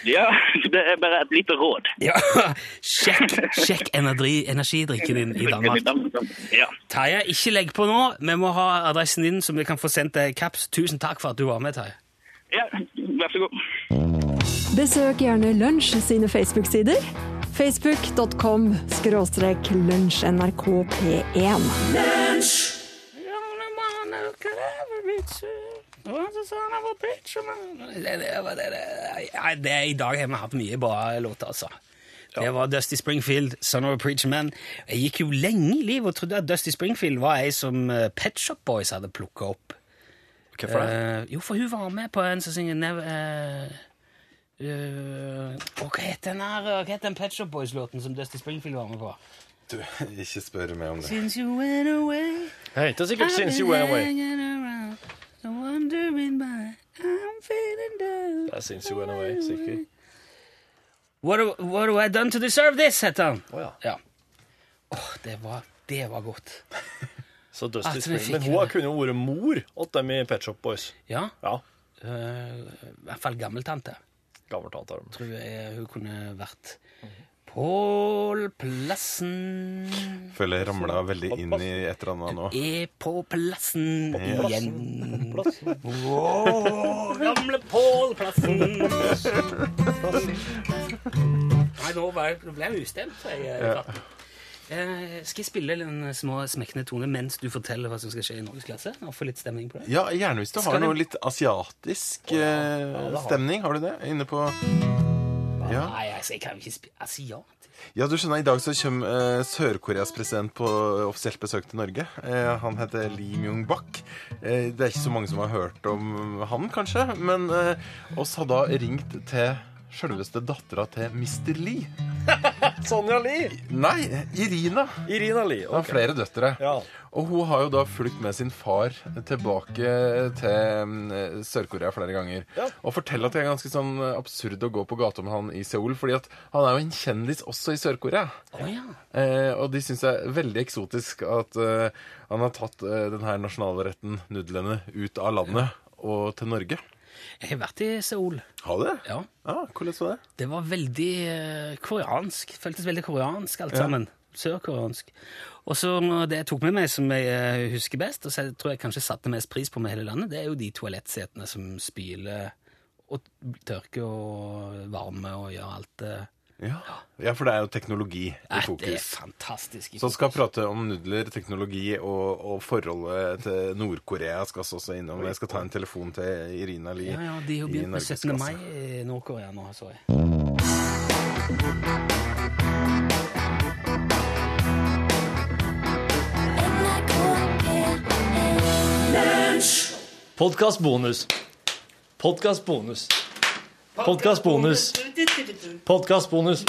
Speaker 5: Ja, det er bare et lite råd.
Speaker 2: Ja, sjekk, sjekk energi, energidrikken din i Danmark.
Speaker 5: Ja.
Speaker 2: Terje, ikke legg på nå. Vi må ha adressen din, så vi kan få sendt deg caps. Tusen takk for at du var med, Terje.
Speaker 5: ja, vær så god.
Speaker 4: Besøk gjerne Lunsj sine Facebook-sider. Facebook.com skråstrek lunsjnrkp1.
Speaker 2: Det, det, var det, det. Nei, det, I dag har vi hatt mye bra låter, altså. Det var Dusty Springfield, 'Son of a Preacher Man'. Jeg gikk jo lenge i livet og trodde at Dusty Springfield var ei som eh, Pet Shop Boys hadde plukka opp.
Speaker 3: Hvorfor det?
Speaker 2: Eh, jo, for hun var med på en som synger Never eh, eh, og Hva heter den her, eh, hva heter den Pet Shop Boys-låten som Dusty Springfield var med på?
Speaker 8: Du, ikke spør meg om det.
Speaker 2: Since you went away
Speaker 3: Jeg heter sikkert Since You Went Away. Det er Since You Went Away, sikkert.
Speaker 2: What, have- what have I done to deserve this, heter han.
Speaker 3: Å ja.
Speaker 2: Ja. Åh, det var, det var godt.
Speaker 3: Så
Speaker 2: At
Speaker 3: Dusty
Speaker 2: vi
Speaker 3: Spring.
Speaker 2: fikk
Speaker 3: Men hun har
Speaker 2: det.
Speaker 3: kunne jo vært mor åt dem i Pet Shop Boys.
Speaker 2: Ja,
Speaker 3: Ja.
Speaker 2: øh, i hvert fall gammeltante.
Speaker 3: Gammeltante har de.
Speaker 2: Tror jeg hun kunne vært. Pål Plassen
Speaker 8: Føler jeg ramla veldig inn i et eller annet nå.
Speaker 2: er på plassen igjen. Åh, gamle Pål Plassen. Nei, nå var jeg- nå ble jeg ustemt. så Jeg, eh, fatt. Eh, skal jeg spille den små smekkende tone mens du forteller hva som skal skje i norgesklasse? Og få litt stemning på det?
Speaker 8: Ja, gjerne hvis du
Speaker 2: Skal
Speaker 8: har
Speaker 2: du-
Speaker 8: noe litt asiatisk eh, stemning. Har du det? Inne på Ja.
Speaker 2: Nei, altså, jeg kan jo ikke spille asiatisk.
Speaker 8: Ja, du skjønner, I dag så kommer eh, Sør-Koreas president på offisielt besøk til Norge. Eh, han heter Lee Myung-bak. Eh, det er ikke så mange som har hørt om han, kanskje. Men eh, oss har da ringt til sjølveste dattera til Mr. Lee.
Speaker 3: Sonja Lie!
Speaker 8: Nei, Irina.
Speaker 3: Irina Lie.
Speaker 8: Han har
Speaker 3: ok.
Speaker 8: flere døtre.
Speaker 3: Ja.
Speaker 8: Og hun har jo da fulgt med sin far tilbake til mm, Sør-Korea flere ganger.
Speaker 3: Ja.
Speaker 8: Og forteller at det er ganske sånn absurd å gå på gata med han i Seoul, fordi at han er jo en kjendis også i Sør-Korea.
Speaker 2: Å ja.
Speaker 8: Eh, og de syns det er veldig eksotisk at eh, han har tatt eh, den her nasjonalretten, nudlene, ut av landet og til Norge.
Speaker 2: Jeg har vært i Seoul.
Speaker 8: Har du det?
Speaker 2: Ja.
Speaker 8: Ah, hvordan var det?
Speaker 2: Det var veldig eh, koreansk. Føltes veldig koreansk alt sammen. Sørkoreansk. Og så når det jeg tok med meg som jeg eh, husker best, og så jeg tror jeg kanskje satte mest pris på med hele landet, det er jo de toalettsetene som spyler og tørker og varmer og gjør alt det
Speaker 8: Ja. ja, for det er jo teknologi i
Speaker 2: Nei, Det er
Speaker 8: fokus.
Speaker 2: fantastisk. i
Speaker 8: Så
Speaker 2: fokus.
Speaker 8: skal prate om nudler, teknologi og, og forholdet til Nord-Korea skal vi også innom. Jeg skal ta en telefon til Irina Li
Speaker 2: Ja, ja, de har jo begynt med 17. mai
Speaker 8: Norgesklasse.
Speaker 2: i Nord-Korea nå, så jeg.
Speaker 3: Podkastbonus. Podkastbonus. Podkastbonus. Podkastbonus.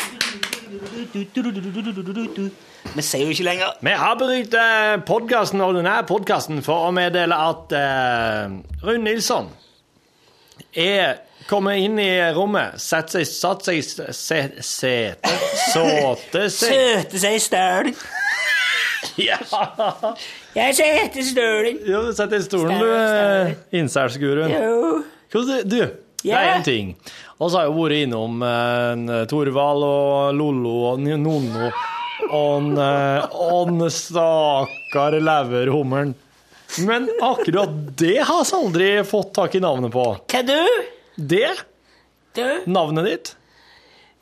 Speaker 2: Vi sier jo ikke lenger
Speaker 3: Vi avbryter podkasten, ordinær podkasten, for å meddele at eh, Rune Nilsson er kommet inn i rommet, satt seg Satt seg se- Sete Såte seg
Speaker 2: Søte seg i stølen.
Speaker 3: Ja,
Speaker 2: Jeg heter Stølen.
Speaker 3: Ja, du setter i stolen, du, eh, innselsguruen.
Speaker 2: Jo.
Speaker 3: Hvordan- Du, det er
Speaker 2: Ja.
Speaker 3: en ting. Vi har jo vært innom eh, Torvald og Lollo og N- Nonno og eh, og en stakkar leverhummeren. Men akkurat det har vi aldri fått tak i navnet på.
Speaker 2: Hva du?
Speaker 3: Det?
Speaker 2: Du?
Speaker 3: Navnet ditt?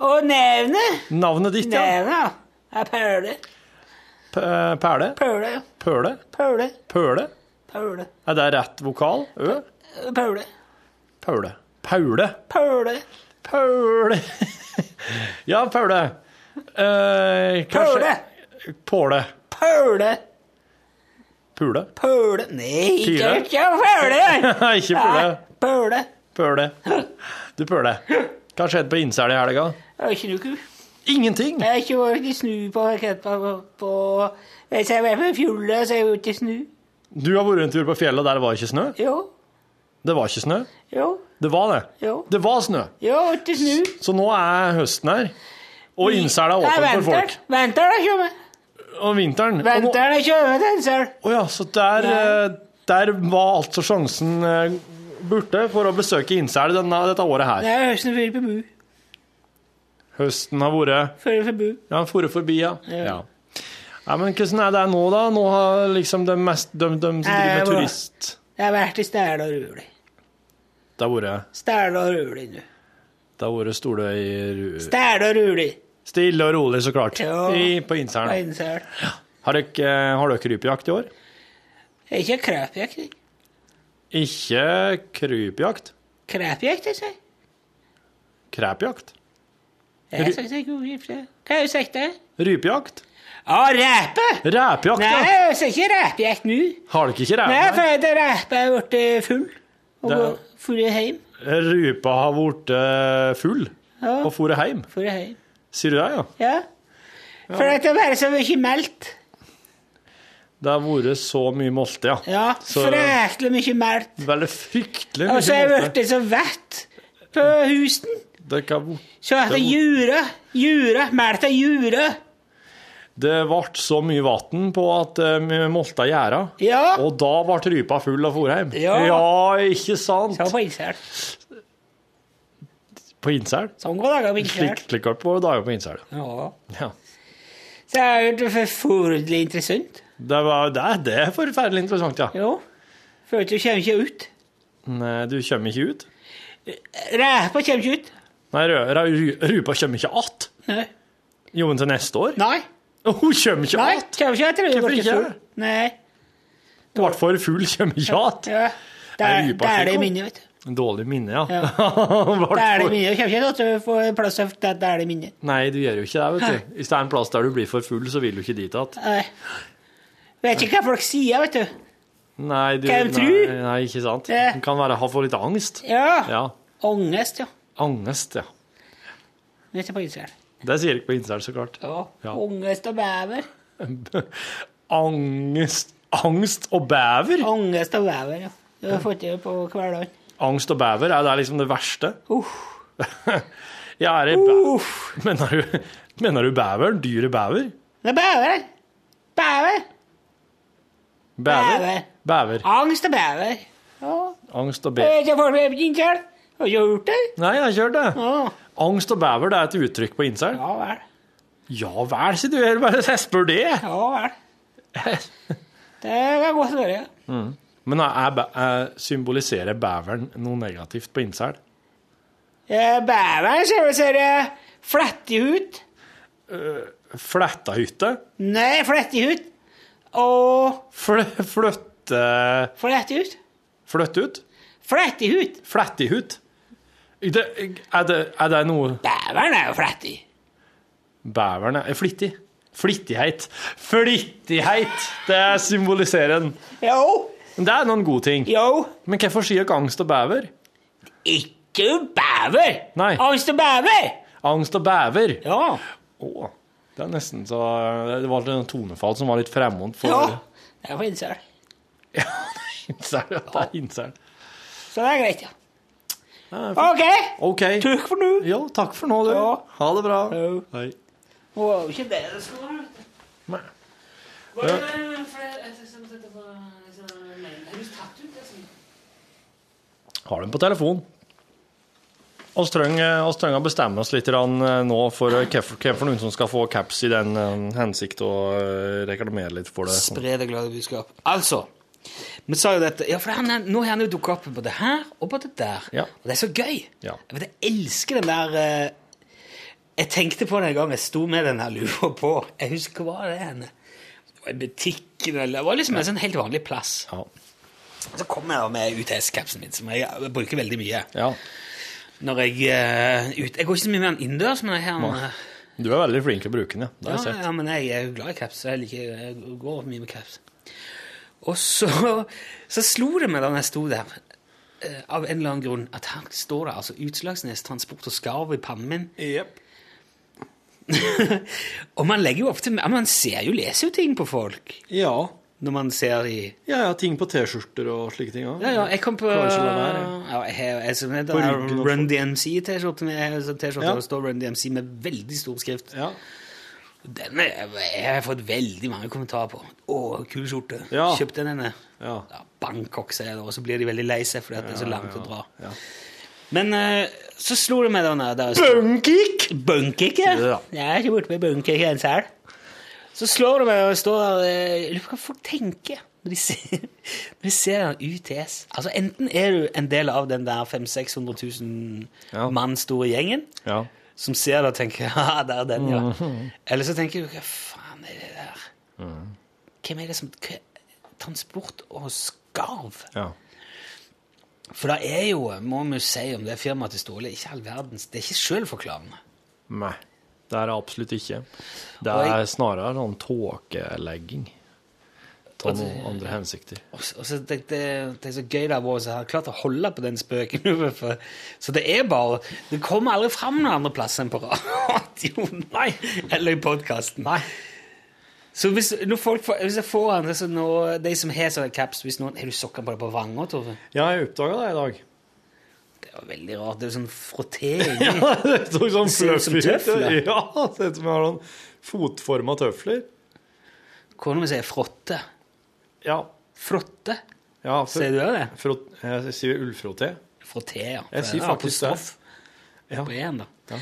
Speaker 2: Og nevene.
Speaker 3: Navnet ditt, ja.
Speaker 2: Nevene. Jeg pøler.
Speaker 3: P eh, Perle?
Speaker 2: Pøler.
Speaker 3: Pøle?
Speaker 2: Pøler.
Speaker 3: Pøle?
Speaker 2: Pøler.
Speaker 3: Er det rett vokal? Ø?
Speaker 2: Pøler.
Speaker 3: Paule. eh, Paule?
Speaker 2: Pøler.
Speaker 3: Paule. ja, Paule. Eh, kanskje- Påle.
Speaker 2: Pøler.
Speaker 3: Pule.
Speaker 2: Pøler. Nei,
Speaker 3: Tyle?
Speaker 2: ikke- ikke pøler.
Speaker 3: Ikke pule.
Speaker 2: Pøler.
Speaker 3: Pøle. Du pøle. Hva skjedde på Innsel i helga?
Speaker 2: Jeg har ikke noe ku.
Speaker 3: Ingenting.
Speaker 2: Jeg har ikke vært i snu på raketter på, på Hvis jeg var på fjellet, så er jeg ute i snu.
Speaker 3: Du har vært en tur på fjellet der det var ikke snø?
Speaker 2: Jo.
Speaker 3: Det var ikke snø.
Speaker 2: Jo.
Speaker 3: Det var det.
Speaker 2: Jo.
Speaker 3: Det var snø.
Speaker 2: Jo, ute i snu.
Speaker 3: Så nå er høsten her. Og Innsel er
Speaker 2: Nei,
Speaker 3: åpen for
Speaker 2: venter.
Speaker 3: folk.
Speaker 2: Venter, da, kommer.
Speaker 3: Og vinteren. Og nå-
Speaker 2: Venter, da, kommer den selv.
Speaker 3: Å ja, så der,
Speaker 2: Nei.
Speaker 3: eh, der var altså sjansen eh, borte for å besøke Innsel denne, dette året her.
Speaker 2: Det er høsten før på bu.
Speaker 3: Høsten har vært
Speaker 2: Før på bu.
Speaker 3: Ja, han for forbi, ja. ja. Nei, men hvordan er det nå, da? Nå har liksom de, mest, de, de som driver
Speaker 2: Nei,
Speaker 3: med
Speaker 2: hva?
Speaker 3: turist
Speaker 2: Jeg har vært i Stæle og Ruli.
Speaker 3: Det har vært
Speaker 2: Stæle og Ruli nå.
Speaker 3: Det har vært Storøy i Ru-
Speaker 2: Stæle og Ruli.
Speaker 3: Stille og rolig, så klart.
Speaker 2: Ja.
Speaker 3: I, på Innsern.
Speaker 2: Reinsel.
Speaker 3: Har dere, har dere rypejakt i år?
Speaker 2: Ikke krepjakt.
Speaker 3: Ikke krypjakt.
Speaker 2: Krepjakt, jeg sier.
Speaker 3: Krepjakt.
Speaker 2: Jeg synes jeg er god gift, det. Hva har du sagt det?
Speaker 3: Rypejakt.
Speaker 2: Å, ræpe!
Speaker 3: Ræpjakt,
Speaker 2: Nei,
Speaker 3: ja.
Speaker 2: jeg sier ikke ræpjakt nå.
Speaker 3: Har dere ikke
Speaker 2: Nei,
Speaker 3: ræpe?
Speaker 2: for da ræpa jeg ble eh, full. Og
Speaker 3: Det-
Speaker 2: går- for jeg hjem.
Speaker 3: Rypa har blitt eh, full
Speaker 2: Ja.
Speaker 3: og for hjem.
Speaker 2: For jeg hjem.
Speaker 3: Sier du det, ja?
Speaker 2: Ja. For at det er bare så mye meldt.
Speaker 3: Det har vært så mye molte, ja.
Speaker 2: Ja,
Speaker 3: Så-
Speaker 2: fryktelig mye meldt.
Speaker 3: Veldig fryktelig
Speaker 2: Og så
Speaker 3: mye
Speaker 2: er jeg
Speaker 3: molte.
Speaker 2: blitt så vett på husen.
Speaker 3: Dere har vært-
Speaker 2: Så at det jura, jura, melta jura.
Speaker 3: Det ble så mye vann på at eh, vi molta gjerda.
Speaker 2: Ja.
Speaker 3: Og da ble rypa full av Forheim.
Speaker 2: Ja.
Speaker 3: ikke sant?
Speaker 2: Så på Innsel.
Speaker 3: På Innsel.
Speaker 2: Sånn går dager på Innsel.
Speaker 3: Slik slik opp våre dager på Innsel.
Speaker 2: Ja.
Speaker 3: Ja.
Speaker 2: Så jeg har hørt det forferdelig interessant.
Speaker 3: Det, var, det, er- det er forferdelig interessant, ja.
Speaker 2: Jo. Føler at du kommer ikke ut.
Speaker 3: Nei, du kommer ikke ut.
Speaker 2: Ræpa kommer ikke ut.
Speaker 3: Nei, rø- rø- rupa kommer ikke att.
Speaker 2: Nei.
Speaker 3: Jo, men til neste år.
Speaker 2: Nei.
Speaker 3: Hun kommer ikke
Speaker 2: Nei.
Speaker 3: att!
Speaker 2: Kommer ikke ut. Jeg
Speaker 3: Hvorfor
Speaker 2: tror
Speaker 3: ikke?
Speaker 2: ikke. Nei.
Speaker 3: Hun ble for full, kommer ikke att.
Speaker 2: Ja. Det
Speaker 3: Er
Speaker 2: er
Speaker 3: rypa
Speaker 2: det, er
Speaker 3: slik
Speaker 2: det
Speaker 3: også?
Speaker 2: minnet, vet du.
Speaker 3: Dårlig minne, ja.
Speaker 2: Ja.
Speaker 3: Hun ble
Speaker 2: Det er det
Speaker 3: for-
Speaker 2: minnet. Jeg kommer ikke ut. Du får plass til det. Det er det minnet.
Speaker 3: Nei, du gjør jo ikke det, vet du. Hvis det er en plass der du blir for full, så vil du ikke dit att.
Speaker 2: Nei. Vet ikke hva folk sier, vet du.
Speaker 3: Nei, du,
Speaker 2: Hvem
Speaker 3: nei,
Speaker 2: tror?
Speaker 3: nei, ikke sant?
Speaker 2: Ja.
Speaker 3: Den kan være ha for litt angst.
Speaker 2: Ja.
Speaker 3: Ja.
Speaker 2: Angest, ja.
Speaker 3: Angst, ja.
Speaker 2: Vet du på Israel.
Speaker 3: Det sier jeg ikke på Instagram, så klart.
Speaker 2: Ja.
Speaker 3: Ja.
Speaker 2: Angest og bever.
Speaker 3: Angst Angst og bever?
Speaker 2: Angest og bever, ja. Det har jeg fått til på hverdagen.
Speaker 3: Angst og bever, er det liksom det verste?
Speaker 2: Uff.
Speaker 3: Jeg er i bever. Mener du, mener du beveren? Dyret bever?
Speaker 2: Det er bever her. Bever.
Speaker 3: Bever. Bever.
Speaker 2: Angst og bever. Ja.
Speaker 3: Angst
Speaker 2: Jeg
Speaker 3: og bever.
Speaker 2: vet ikke hvorfor jeg er på Israel. Har du gjort det?
Speaker 3: Nei, jeg har ikke hørt det.
Speaker 2: Ja.
Speaker 3: Angst og bever, det er et uttrykk på Instagram?
Speaker 2: Ja vel.
Speaker 3: Ja vel, sier du. Jeg bare jeg spør det.
Speaker 2: Ja vel. Det kan godt være. ja.
Speaker 3: Men er, er, be- er, symboliserer beveren noe negativt på Insel?
Speaker 2: Eh, Beveren ser ut som eh, flettig hud.
Speaker 3: Fletta hytte?
Speaker 2: Nei, flettig hud. Og
Speaker 3: Fl fløtte
Speaker 2: flettig hud.
Speaker 3: Fløtte ut?
Speaker 2: Flettig hud.
Speaker 3: Flettig hud? Det, er, det, er det noe
Speaker 2: Beveren er jo flettig.
Speaker 3: Beveren er flittig? Flittighet. Flittighet! Det symboliserer en
Speaker 2: Jo,
Speaker 3: Men Det er noen gode ting.
Speaker 2: jo.
Speaker 3: Men hvorfor sier dere angst og bever?
Speaker 2: Ikke bever!
Speaker 3: Nei.
Speaker 2: Angst og bever!
Speaker 3: Angst og bever.
Speaker 2: Ja.
Speaker 3: Å, det er nesten så eh, Det var et tonefall som var litt fremmed for
Speaker 2: ja. Det er på innsel.
Speaker 3: Insel. Ja, Insel.
Speaker 2: Så det er greit, ja.
Speaker 3: Ja,
Speaker 2: OK.
Speaker 3: OK.
Speaker 2: Takk for nå.
Speaker 3: Ja, takk for nå, du.
Speaker 2: Ja.
Speaker 3: Ha det bra.
Speaker 2: Ja.
Speaker 3: Hei.
Speaker 2: Hun var jo ikke det det skulle være.
Speaker 3: Nei. Har dem på telefon. Vi trenger oss trenger å bestemme oss litt grann, eh, nå for eh, hvorfor hvorfor noen som skal få caps i den eh, hensikt å eh, reklamere litt for det.
Speaker 2: Spre det glade budskap. Altså, vi sa jo dette Ja, for han, er- nå har han jo dukka opp på det her og på det der.
Speaker 3: Ja.
Speaker 2: Og det er så gøy.
Speaker 3: Ja.
Speaker 2: Jeg, vet, jeg elsker den der eh, Jeg tenkte på det en gang jeg sto med den her lua på. Jeg husker hva det er henne. Det var i butikken eller Det var liksom en sånn helt vanlig plass.
Speaker 3: Ja.
Speaker 2: Så kom jeg da med UTS-capsen min, som jeg bruker veldig mye.
Speaker 3: ja.
Speaker 2: Når jeg eh, ut, Jeg går ikke så mye med den innendørs, men jeg har den eh,
Speaker 3: Du er veldig flink til å bruke den, ja.
Speaker 2: ja,
Speaker 3: Det har jeg sett.
Speaker 2: ja, men jeg er jo glad i caps. Jeg, liker, jeg går mye med caps. Og så, så slo det meg da jeg sto der, eh, av en eller annen grunn, at her står det altså Utslagsnes Transport og Skarv i pannen min. og man legger jo ofte ja, Man ser jo, leser jo ting på folk
Speaker 3: Ja.
Speaker 2: når man ser de
Speaker 3: ja, ja, ting på T-skjorter og slike ting.
Speaker 2: Ja, ja, jeg kom på
Speaker 3: Klarer ikke å la være,
Speaker 2: ja, jeg, har- jeg, som heter
Speaker 3: På
Speaker 2: den
Speaker 3: ryggen
Speaker 2: her
Speaker 3: og
Speaker 2: Run DMC-T-skjorte med sånn T-skjorte,
Speaker 3: Ja.
Speaker 2: og det står Run DMC med veldig stor skrift.
Speaker 3: Ja.
Speaker 2: Den er, jeg har fått veldig mange kommentarer på. Å, kul skjorte.
Speaker 3: Ja.
Speaker 2: Kjøp den henne.
Speaker 3: Ja.
Speaker 2: Ja, Bangkok, sier jeg da, og så blir de veldig lei seg fordi at det er så langt å dra.
Speaker 3: ja.
Speaker 2: Men eh, så slo det meg da når jeg der
Speaker 3: Bunkik!
Speaker 2: Bunkik, ja.
Speaker 3: Ja.
Speaker 2: Jeg er ikke borte med bunkik en selv. Så slår det meg og står der eh, Jeg lurer på hva folk tenker når de ser, når de ser den UTS. Altså, enten er du en del av den der 500 000-600 000
Speaker 3: Ja.
Speaker 2: mann store gjengen,
Speaker 3: Ja.
Speaker 2: som ser det og tenker ja, der er den, ja. Eller så tenker du hva faen er det der? Hvem er det som hva, Transport og skarv?
Speaker 3: Ja.
Speaker 2: For det er jo, må vi jo si om det firmaet til Ståle, ikke all verdens Det er ikke sjølforklarende.
Speaker 3: Nei. Det er det absolutt ikke. Det
Speaker 2: Og
Speaker 3: er
Speaker 2: jeg-
Speaker 3: snarere sånn tåkelegging. Ta noen andre hensikter.
Speaker 2: Og så- og så det, det, det er så gøy det har vært, så jeg har klart å holde på den spøken. overfor. Så det er bare Det kommer aldri fram noen andre plass enn på radio nei, eller i podkasten. Så hvis, når folk får, hvis jeg får andre, så nå, de som har sånne caps hvis noen, Har du sokker på deg på vanga, Tove?
Speaker 3: Ja, jeg oppdaga det i dag.
Speaker 2: Det var veldig rart. Det er jo sånn frottering.
Speaker 3: Ja, det så sånn
Speaker 2: Ser ut som
Speaker 3: fluffy ut.
Speaker 2: tøfler.
Speaker 3: Ja, det ser ut som jeg har noen fotforma tøfler.
Speaker 2: Kona mi sier frotte.
Speaker 3: Ja.
Speaker 2: Frotte?
Speaker 3: ja
Speaker 2: Sier du det?
Speaker 3: frot- jeg sier ullfroté.
Speaker 2: Frotté, ja.
Speaker 3: Jeg sier faktisk det.
Speaker 2: Apostrof
Speaker 3: Ja.
Speaker 2: på en, da.
Speaker 3: Ja.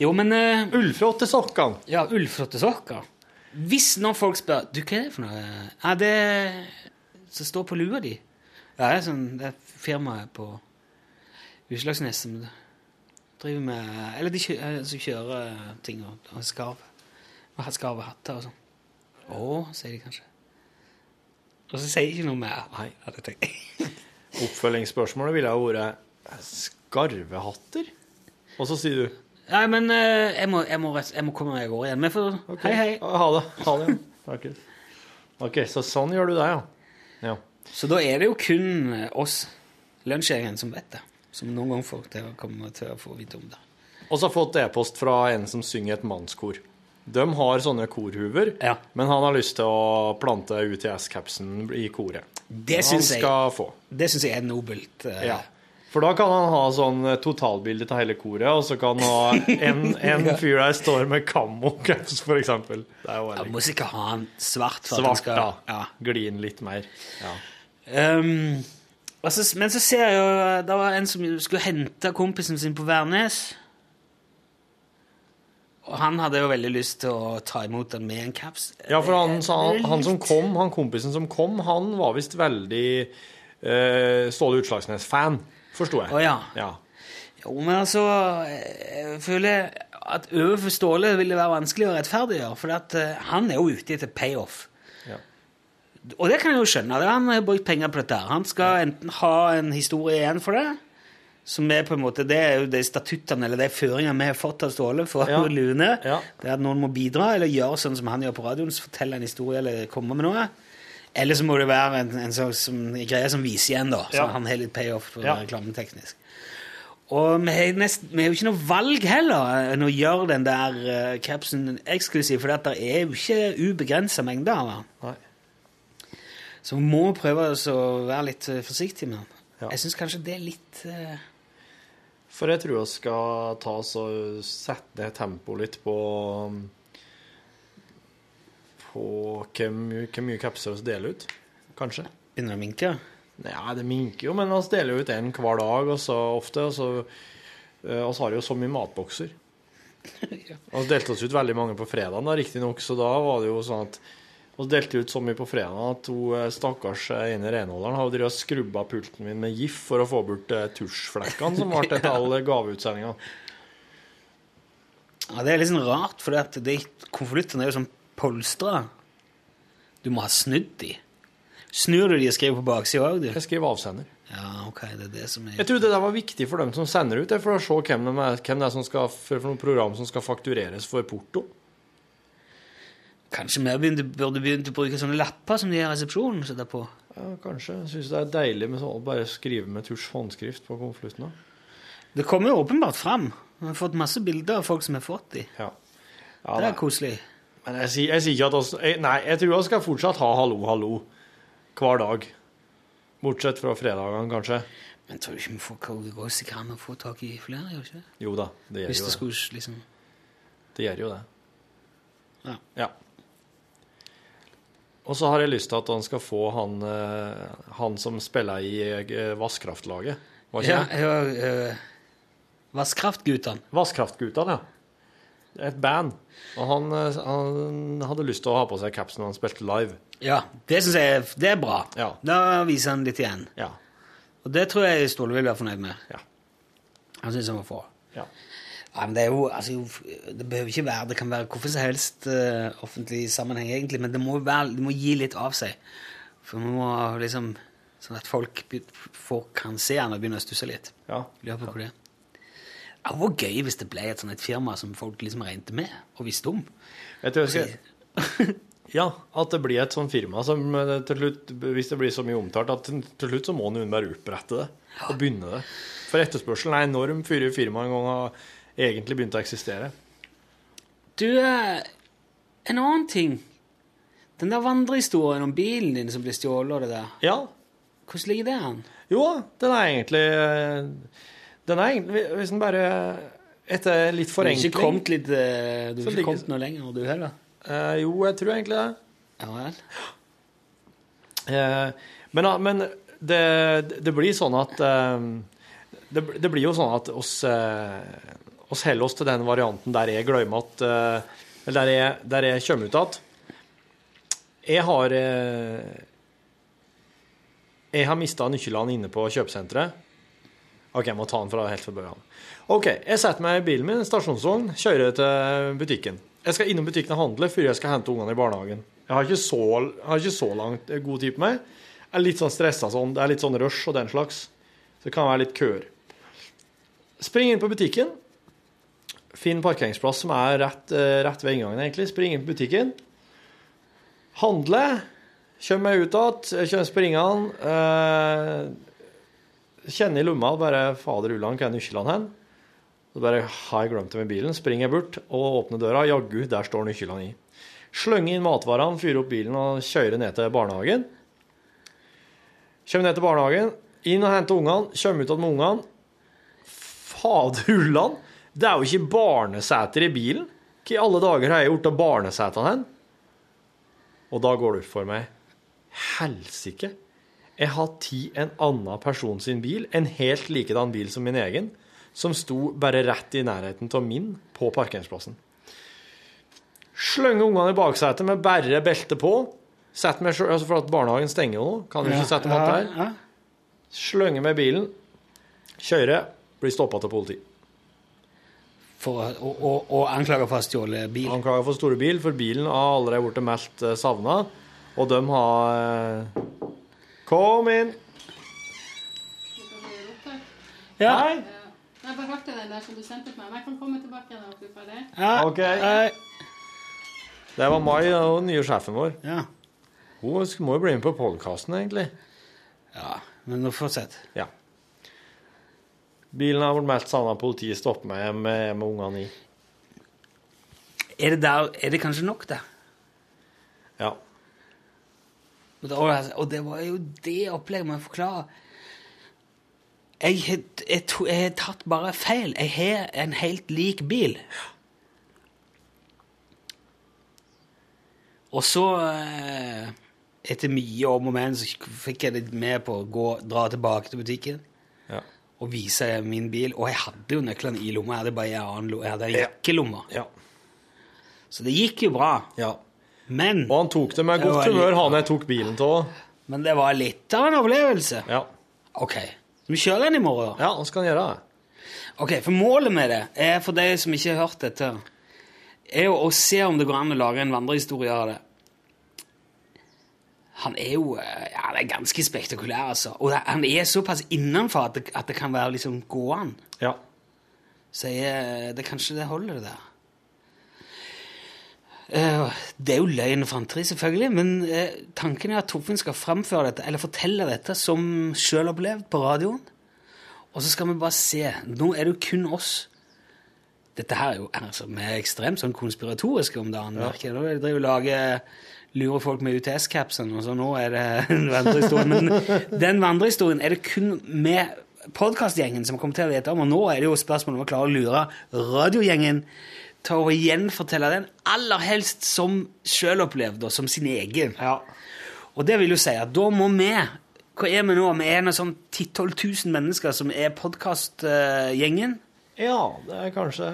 Speaker 2: Jo, men eh,
Speaker 3: Ullfrott til sokkene.
Speaker 2: Ja, ullfrottesokker. Hvis noen folk spør Du, hva er det for noe? Er det som står på lua di? Ja, det er sånn Det er firmaet på Utslagsnes som driver med Eller de kjø, eh, som kjører ting og, og skarv. Og har skarv og hatter og sånn. Å, sier de kanskje. Og så sier de ikke noe mer. Nei, hadde jeg tenkt.
Speaker 3: Oppfølgingsspørsmålet ville jo vært eh, skarvehatter. Og så sier du
Speaker 2: Nei, men eh, jeg, må, jeg, må, rett- jeg må komme meg av gårde igjen. Men for,
Speaker 3: ok,
Speaker 2: hei, hei.
Speaker 3: Ha det. Ha det. Takk. OK, så sånn gjør du det, ja. ja.
Speaker 2: Så da er det jo kun eh, oss, lunsjgjengen, som vet det. Som noen gang folk til å komme til å få vite om det.
Speaker 3: Og så har jeg fått e-post fra en som synger et mannskor. De har sånne korhuver,
Speaker 2: Ja.
Speaker 3: men han har lyst til å plante UTS-capsen i koret.
Speaker 2: Det syns
Speaker 3: han
Speaker 2: jeg,
Speaker 3: skal få.
Speaker 2: det syns jeg er nobelt. eh.
Speaker 3: Ja. For da kan han ha sånn totalbilde av hele koret, og så kan han ha en, en fyr der står med kammo-caps, for eksempel. Det er jo
Speaker 2: Jeg
Speaker 3: veldig
Speaker 2: må sikkert ha han svart. for at han
Speaker 3: svart,
Speaker 2: skal-
Speaker 3: da.
Speaker 2: Ja.
Speaker 3: Gli inn litt mer. Ja.
Speaker 2: Ehm, og så, men så ser jeg jo Det var en som skulle hente kompisen sin på Værnes. Og han hadde jo veldig lyst til å ta imot den med en caps. Eh,
Speaker 3: Ja, for han, sa- han, han som kom, han kompisen som kom, han var visst veldig eh, Ståle Utslagsnes-fan, forsto jeg.
Speaker 2: Å ja.
Speaker 3: ja.
Speaker 2: Jo, men altså Jeg føler at overfor Ståle vil det være vanskelig å rettferdiggjøre, for at eh, han er jo ute etter payoff.
Speaker 3: Ja.
Speaker 2: Og det kan jeg jo skjønne. det. Han har brukt penger på dette. her. Han skal enten ha en historie igjen for det, som er på en måte, det er jo de statuttene eller de føringene vi har fått av Ståle for
Speaker 3: Ja.
Speaker 2: Lune.
Speaker 3: Ja.
Speaker 2: Det er at noen må bidra eller gjøre sånn som han gjør på radioen, så fortelle en historie eller komme med noe. Eller så må det være en, en slags som- greie som viser igjen, da. Så
Speaker 3: Ja.
Speaker 2: han har litt payoff på
Speaker 3: Ja.
Speaker 2: reklamen teknisk. Og vi har, nesten, vi har jo ikke noe valg heller eh, enn å gjøre den der eh, capsen eksklusiv, for det er jo ikke ubegrensa mengder av den.
Speaker 3: Nei.
Speaker 2: Så vi må prøve oss å være litt eh, forsiktige med den.
Speaker 3: Ja.
Speaker 2: Jeg syns kanskje det er litt eh,
Speaker 3: For jeg tror jeg skal ta oss og sette ned tempoet litt på På hvor mye, hvor mye kapser vi deler ut, kanskje.
Speaker 2: Begynner å minke.
Speaker 3: Ja, det minker jo, men vi deler jo ut én hver dag og så ofte. Og så eh, oss har jo så mye matbokser. Og så delte oss ut veldig mange på fredagen, riktignok, så da var det jo sånn at vi delte ut så mye på fredagen at hun eh, stakkars eh, ene renholderen har jo drevet og skrubba pulten min med GIF for å få bort eh, tusjflekkene som ble etter all eh, gaveutsendinga.
Speaker 2: Ja, Det er litt sånn rart, for at de konvoluttene er jo sånn polstra. Du må ha snudd de. Snur du de og skriver på baksida òg, du?
Speaker 3: Jeg skriver avsender.
Speaker 2: Ja, OK, det er det som er
Speaker 3: Jeg trodde det var viktig for dem som sender ut, det, for å se hvem, de er, hvem det er som skal, for for noen program som skal faktureres for porto.
Speaker 2: Kanskje vi begynte- burde begynt å bruke sånne lapper som de har i resepsjonen setter på?
Speaker 3: Ja, kanskje. Jeg syns det er deilig med sånn, å bare skrive med tusj håndskrift på konvoluttene.
Speaker 2: Det kommer jo åpenbart fram. Vi har fått masse bilder av folk som har fått de.
Speaker 3: Ja.
Speaker 2: det
Speaker 3: nei.
Speaker 2: er koselig.
Speaker 3: Men jeg sier, jeg sier ikke at oss, jeg, Nei, jeg tror vi skal fortsatt ha hallo, hallo hver dag. Bortsett fra fredagene, kanskje.
Speaker 2: Men tror du ikke vi får vi går sikkert an å få tak i flere? gjør vi ikke? det?
Speaker 3: Jo da, det gjør
Speaker 2: Hvis
Speaker 3: jo
Speaker 2: det
Speaker 3: det.
Speaker 2: skulle liksom
Speaker 3: Det gjør jo det.
Speaker 2: Ja.
Speaker 3: Og så har jeg lyst til at han skal få han, eh, han som spiller i eh, Vasskraftlaget. Var ikke
Speaker 2: Ja,
Speaker 3: det?
Speaker 2: ja øh, Vasskraftguttene.
Speaker 3: Vasskraftguttene, ja. Et band. Og han, eh, han hadde lyst til å ha på seg capsen når han spilte live.
Speaker 2: Ja, det syns jeg er- det er bra.
Speaker 3: Ja.
Speaker 2: Da viser han litt igjen.
Speaker 3: Ja.
Speaker 2: Og det tror jeg Ståle vil være fornøyd med.
Speaker 3: Ja.
Speaker 2: Han syns han må få.
Speaker 3: Ja.
Speaker 2: Nei, men det er jo, altså, jo- det behøver ikke være, det kan være hvorfor som helst eh, offentlig sammenheng egentlig, men det må, være, det må gi litt av seg. For vi må liksom, sånn at folk, be- folk kan se han og begynne å stusse litt.
Speaker 3: Ja.
Speaker 2: Lurer på hvor det er. Det hadde vært gøy hvis det ble et, sånn, et firma som folk liksom regnet med og visste om.
Speaker 3: Vet du hva jeg skal Ja, at det blir et sånt firma som eh, til slutt, hvis det blir så mye omtalt, at til slutt så må noen bare opprette det og begynne det. For etterspørselen er enorm før firmaet en gang har egentlig begynt å eksistere.
Speaker 2: Du, eh, en annen ting. Den der vandrehistorien om bilen din som ble stjålet og det der.
Speaker 3: Ja,
Speaker 2: Hvordan ligger det an?
Speaker 3: Jo da, den er egentlig eh, Den er egentlig Hvis den bare Etter litt
Speaker 2: Du har ikke
Speaker 3: forenkling
Speaker 2: kommet litt, eh, du har
Speaker 3: Så
Speaker 2: ikke
Speaker 3: ligger-
Speaker 2: kommet noe lenger, du heller.
Speaker 3: eh, Jo, jeg tror egentlig det.
Speaker 2: Ja vel.
Speaker 3: Eh, Men, ah, men det, det blir sånn at eh, det, det blir jo sånn at oss, eh, oss holder oss til den varianten der jeg glemmer at eh, Eller der jeg, der jeg kommer ut igjen. Jeg har eh, Jeg har mista nøklene inne på kjøpesenteret. OK, jeg må ta den fra helt fra begynnelsen. OK, jeg setter meg i bilen min, stasjonsvogn, kjører til butikken. Jeg skal innom butikken og handle før jeg skal hente ungene i barnehagen. Jeg har ikke så, jeg har ikke så langt eh, god tid på meg. Jeg er litt sånn stressa sånn. Det er litt sånn rush og den slags. Så det kan være litt køer. Spring inn på butikken. Finn parkeringsplass som er rett, eh, rett ved inngangen, egentlig. Spring inn på butikken. Handle. Kjøm meg ut igjen. Kjøm springende. Eh, kjenner i lomma og bare Fader ullan, hvor er nøklene hen? Så bare har jeg glemt dem i bilen. Springer jeg bort og åpner døra. Jaggu, der står nøklene i. Slenger inn matvarene, fyrer opp bilen og kjører ned til barnehagen. Kommer ned til barnehagen, inn og henter ungene, kommer ut igjen med ungene. Fader ullan! Det er jo ikke barneseter i bilen! Hva i alle dager har jeg gjort av barnesetene hen? Og da går det opp for meg. Helsike! Jeg har tatt en annen person sin bil, en helt likedan bil som min egen, som sto bare rett i nærheten av min på parkeringsplassen. Slønge ungene i baksetet med bare belte på. Sett meg selv, altså For at barnehagen stenger nå, kan du ikke sette dem opp der.
Speaker 2: Ja,
Speaker 3: Slønge med bilen, kjøre, blir stoppa til politi.
Speaker 2: For å, å, å- å anklage for å stjåle bil.
Speaker 3: Anklaga for store bil, for bilen har allerede blitt meldt savna, og de har eh, Kom inn!
Speaker 2: Ja.
Speaker 3: Hei!
Speaker 8: Jeg bare hørte den der som du sendte til meg, men jeg kan komme tilbake igjen og klippe det.
Speaker 2: Ja.
Speaker 3: Ok.
Speaker 2: Eh,
Speaker 3: Det var Mai, den nye sjefen vår.
Speaker 2: ja.
Speaker 3: Hun sk- må jo bli med på podkasten, egentlig.
Speaker 2: ja. Men nå fortsett.
Speaker 3: Ja. Bilen har blitt meldt savna. Politiet stopper meg med, med ungene i.
Speaker 2: Er det, der, er det kanskje nok, da?
Speaker 3: Ja.
Speaker 2: Og det- Og og det var jo det opplegget med å forklare. Jeg, har- jeg, to- jeg har tatt bare feil. Jeg har en helt lik bil. Og så, eh, etter mye om og men, så fikk jeg det med på å gå, dra tilbake til butikken
Speaker 3: Ja.
Speaker 2: og vise min bil. Og jeg hadde jo nøklene i lomma. Jeg hadde bare en annen lo- jeg hadde en jakkelomme.
Speaker 3: ja.
Speaker 2: Så det gikk jo bra.
Speaker 3: ja.
Speaker 2: Men,
Speaker 3: Og han tok det med
Speaker 2: Det var
Speaker 3: godt humør, han jeg tok bilen av.
Speaker 2: men det var litt av en opplevelse.
Speaker 3: Ja.
Speaker 2: Ok. Vi kjører den i morgen.
Speaker 3: ja, han skal gjøre det.
Speaker 2: Ok, for målet med det, er for deg som ikke har hørt dette, er jo å se om det går an å lage en vandrehistorie av det. Han er jo eh, ja, han er ganske spektakulær, altså. Og det- han er såpass innenfor at det, at det kan være liksom gående.
Speaker 3: Ja.
Speaker 2: Så jeg, eh, det kanskje det holder, det der. Eh, Det er jo løgn og fanteri, selvfølgelig, men eh, tanken er at Torfinn skal framføre dette, eller fortelle dette, som sjøl opplevd på radioen. Og så skal vi bare se. Nå er det jo kun oss. Dette her er jo altså, vi er ekstremt sånn konspiratoriske om dagen. merker jeg. Nå er det driver og lager lurer folk med UTS-capsen, og så nå er det en vandrehistorie. Men den vandrehistorien er det kun med podkastgjengen som kommer til å vite om, og nå er det jo spørsmål om å klare å lure radiogjengen til å gjenfortelle den, aller helst som sjøl opplevd, og som sin egen.
Speaker 3: Ja.
Speaker 2: Og det vil jo si at da må vi Hva er vi nå? Vi er noe sånn 10 12 000 mennesker som er podkastgjengen.
Speaker 3: ja, det er kanskje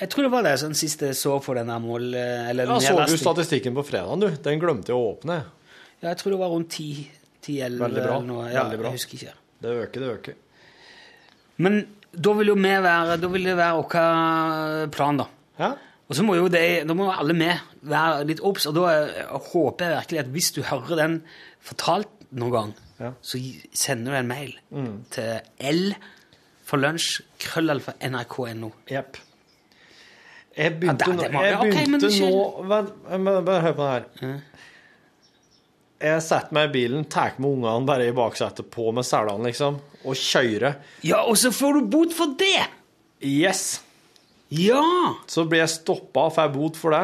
Speaker 2: Jeg tror det var det sånn sist jeg så på den der mål... eh, Eller
Speaker 3: Ja, Så du
Speaker 2: nedlasting.
Speaker 3: statistikken på fredagen, du? Den glemte jeg å åpne.
Speaker 2: Ja, jeg tror det var rundt 10-11
Speaker 3: Veldig bra.
Speaker 2: eller noe. Ja,
Speaker 3: Veldig bra.
Speaker 2: Jeg husker ikke.
Speaker 3: Det øker, det øker.
Speaker 2: Men Da vil jo vi være Da vil det være vår plan, da. Og så må jo de, da må alle med være litt obs. Og da eh, håper jeg virkelig at hvis du hører den fortalt noen gang, så gi- sender du en mail
Speaker 3: Mm.
Speaker 2: til L for lunsj, krøllalfa nrk.no.
Speaker 3: Jepp. Jeg
Speaker 2: begynte
Speaker 3: begynte,
Speaker 2: ja, det er
Speaker 3: nå-
Speaker 2: mange.
Speaker 3: jeg
Speaker 2: Ok, men
Speaker 3: begynte
Speaker 2: Kjell-
Speaker 3: nå vent, vent, Bare hør på det her. Jeg setter meg i bilen, tar med ungene bare i baksetet, på med selene, liksom, og kjører.
Speaker 2: Ja, og så får du bot for det!
Speaker 3: Yes.
Speaker 2: Ja!
Speaker 3: Så blir jeg stoppa og får bot for det.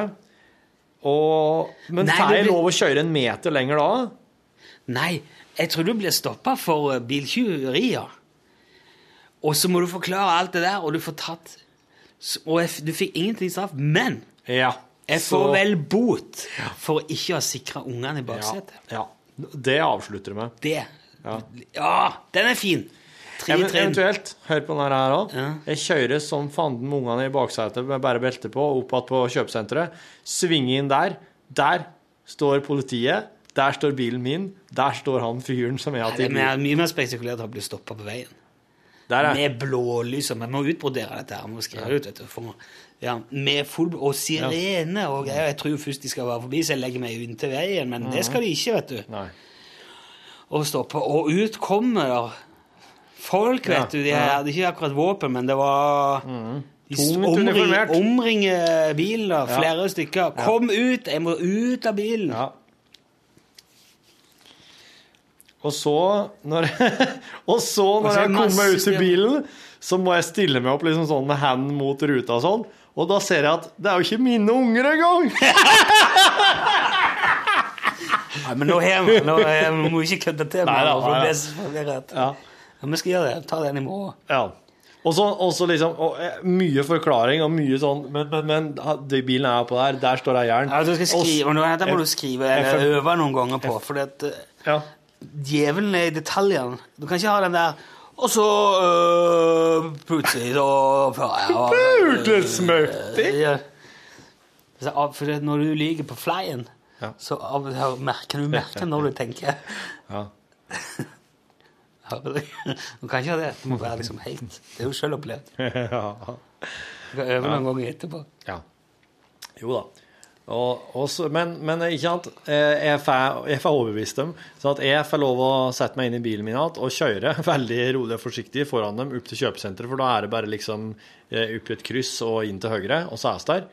Speaker 3: Og, men
Speaker 2: Nei,
Speaker 3: får
Speaker 2: du
Speaker 3: jeg
Speaker 2: blir-
Speaker 3: lov å kjøre en meter lenger da?
Speaker 2: Nei, jeg tror du blir stoppa for eh, biltyverier. Og så må du forklare alt det der, og du får tatt S- Og jeg, f- du fikk ingenting straff, men
Speaker 3: Ja.
Speaker 2: jeg
Speaker 3: Så-
Speaker 2: får vel bot for ikke å sikre ungene i baksetet.
Speaker 3: Ja. Det avslutter du med.
Speaker 2: Det.
Speaker 3: Ja.
Speaker 2: Ja, den er fin! Tre
Speaker 3: Even-
Speaker 2: trinn.
Speaker 3: Eventuelt, hør på denne her også. Jeg kjører som fanden med ungene i baksetet med bare belte på, opp igjen på kjøpesenteret. Svinger inn der. Der står politiet. Der står bilen min. Der står han fyren som jeg
Speaker 2: Nei,
Speaker 3: har
Speaker 2: Det
Speaker 3: hatt i
Speaker 2: er mer- mye mer spesielt å bli stoppa på veien.
Speaker 3: Der er
Speaker 2: Med blålys og Vi må utbrodere dette. her, vi må skrive ut, vet du, for, ja, Med full Og sirene og greier. Jeg tror jo først de skal være forbi, så jeg legger meg inntil veien, men det skal de ikke, vet du.
Speaker 3: Nei.
Speaker 2: Og stoppe. Og ut kommer der folk,
Speaker 3: Ja,
Speaker 2: vet du. De
Speaker 3: ja. Mm.
Speaker 2: hadde ikke akkurat våpen, men det var De s-
Speaker 3: Tungt uniformert.
Speaker 2: omringer biler,
Speaker 3: Ja.
Speaker 2: flere stykker. Kom ut! Jeg må ut av bilen!
Speaker 3: Ja. Og så, når, og så
Speaker 2: Og
Speaker 3: når
Speaker 2: så er
Speaker 3: jeg
Speaker 2: det
Speaker 3: kommer meg ut
Speaker 2: masse
Speaker 3: til bilen, så må jeg stille meg opp liksom sånn med hendene mot ruta og sånn. Og da ser jeg at det er jo ikke mine unger engang!
Speaker 2: Nei, men nå har vi nå har vi- vi må ikke kødde til
Speaker 3: Nei
Speaker 2: med
Speaker 3: da,
Speaker 2: det, for
Speaker 3: nei da.
Speaker 2: det. er så forvirret.
Speaker 3: Ja.
Speaker 2: Ja, Vi skal gjøre det. Ta den i morgen.
Speaker 3: Ja. Og så og så liksom og, eh, Mye forklaring og mye sånn Men, men, men ha, de bilen er på der, der står det jern.
Speaker 2: Ja, du skal skrive, og nå, dette må du skrive eller
Speaker 3: F-
Speaker 2: øve noen ganger på, for at, eh,
Speaker 3: Ja.
Speaker 2: djevelen er i detaljene. Du kan ikke ha den der Og så øh, plutselig så
Speaker 3: Plutselig smøktig.
Speaker 2: Eh, Ja. Så av- For det, når du ligger på flyen, så av, her, merker du merker når du tenker.
Speaker 3: Ja.
Speaker 2: Hører du? Du kan ikke ha det. Det må være liksom helt Det er jo selv opplevd.
Speaker 3: ja.
Speaker 2: Du kan øve noen ganger etterpå.
Speaker 3: Ja. Jo da. Og, og så, men, men ikke sant, Eh, jeg får, jeg får overbevist dem. Så at jeg får lov å sette meg inn i bilen min igjen og kjøre veldig rolig og forsiktig foran dem opp til kjøpesenteret, for da er det bare liksom eh, opp i et kryss og inn til høyre, og så er vi der.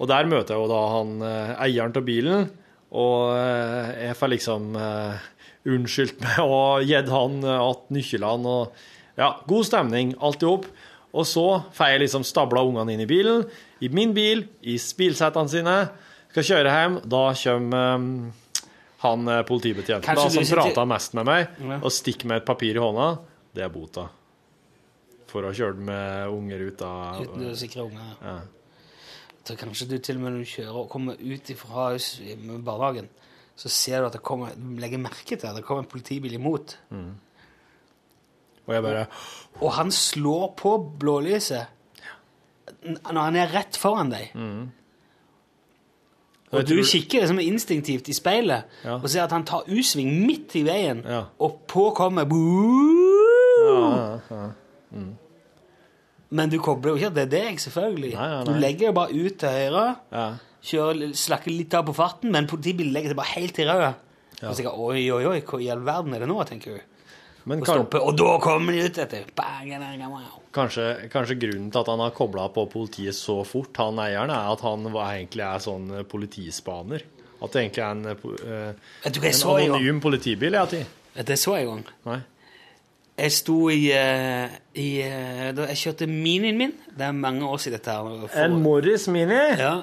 Speaker 3: Og der møter jeg jo da han eh, eieren av bilen, og eh, jeg får liksom eh, unnskyldt meg og gitt han eh, att nøklene og Ja, god stemning, alt i hop. Og så får jeg liksom stabla ungene inn i bilen, i min bil, i bilsetene sine. Skal kjøre hjem. Da kommer eh, han eh, politibetjenten da,
Speaker 2: Kanskje du
Speaker 3: som
Speaker 2: sitter-
Speaker 3: prata mest med meg,
Speaker 2: Ja.
Speaker 3: og stikker meg et papir i hånda. Det er bota. For å ha kjørt med unger ut av
Speaker 2: Uten å sikre unger.
Speaker 3: Ja.
Speaker 2: Så kanskje du til og med når du kjører og kommer ut fra barnehagen, så ser du at det kommer, du legger merke til at det kommer en politibil imot.
Speaker 3: Og jeg bare
Speaker 2: Og han slår på blålyset n- når han er rett foran deg.
Speaker 3: Og Mm. jeg
Speaker 2: Og du
Speaker 3: tror-
Speaker 2: kikker liksom instinktivt i speilet
Speaker 3: Ja.
Speaker 2: og ser at han tar U-sving midt i veien,
Speaker 3: Ja.
Speaker 2: og på kommer
Speaker 3: Ja, ja, ja.
Speaker 2: Men du kobler jo ikke at det er deg, selvfølgelig.
Speaker 3: nei,
Speaker 2: Du
Speaker 3: nei.
Speaker 2: legger det bare ut til høyre,
Speaker 3: ja.
Speaker 2: kjører, slakker litt av på farten, men politibilen legger seg bare helt til røde.
Speaker 3: Ja.
Speaker 2: Og så tenker jeg, oi, oi, oi, hva i all verden er det nå, tenker du.
Speaker 3: Men
Speaker 2: Og
Speaker 3: kan-
Speaker 2: stopper, og da kommer de ut etter. Bang, bang, bang, bang.
Speaker 3: Kanskje, kanskje grunnen til at han har kobla på politiet så fort, han eieren, er at han var, egentlig er sånn eh, politispaner. At det egentlig er en, eh, po- eh,
Speaker 2: Vet du hva jeg
Speaker 3: en
Speaker 2: så i gang?
Speaker 3: anonym politibil. Ja, til.
Speaker 2: Vet du hva jeg så i gang?
Speaker 3: Nei.
Speaker 2: Jeg sto i, eh, i eh, Da jeg kjørte minien min Det er mange år siden dette her. for-
Speaker 3: En Morris Mini?
Speaker 2: Ja.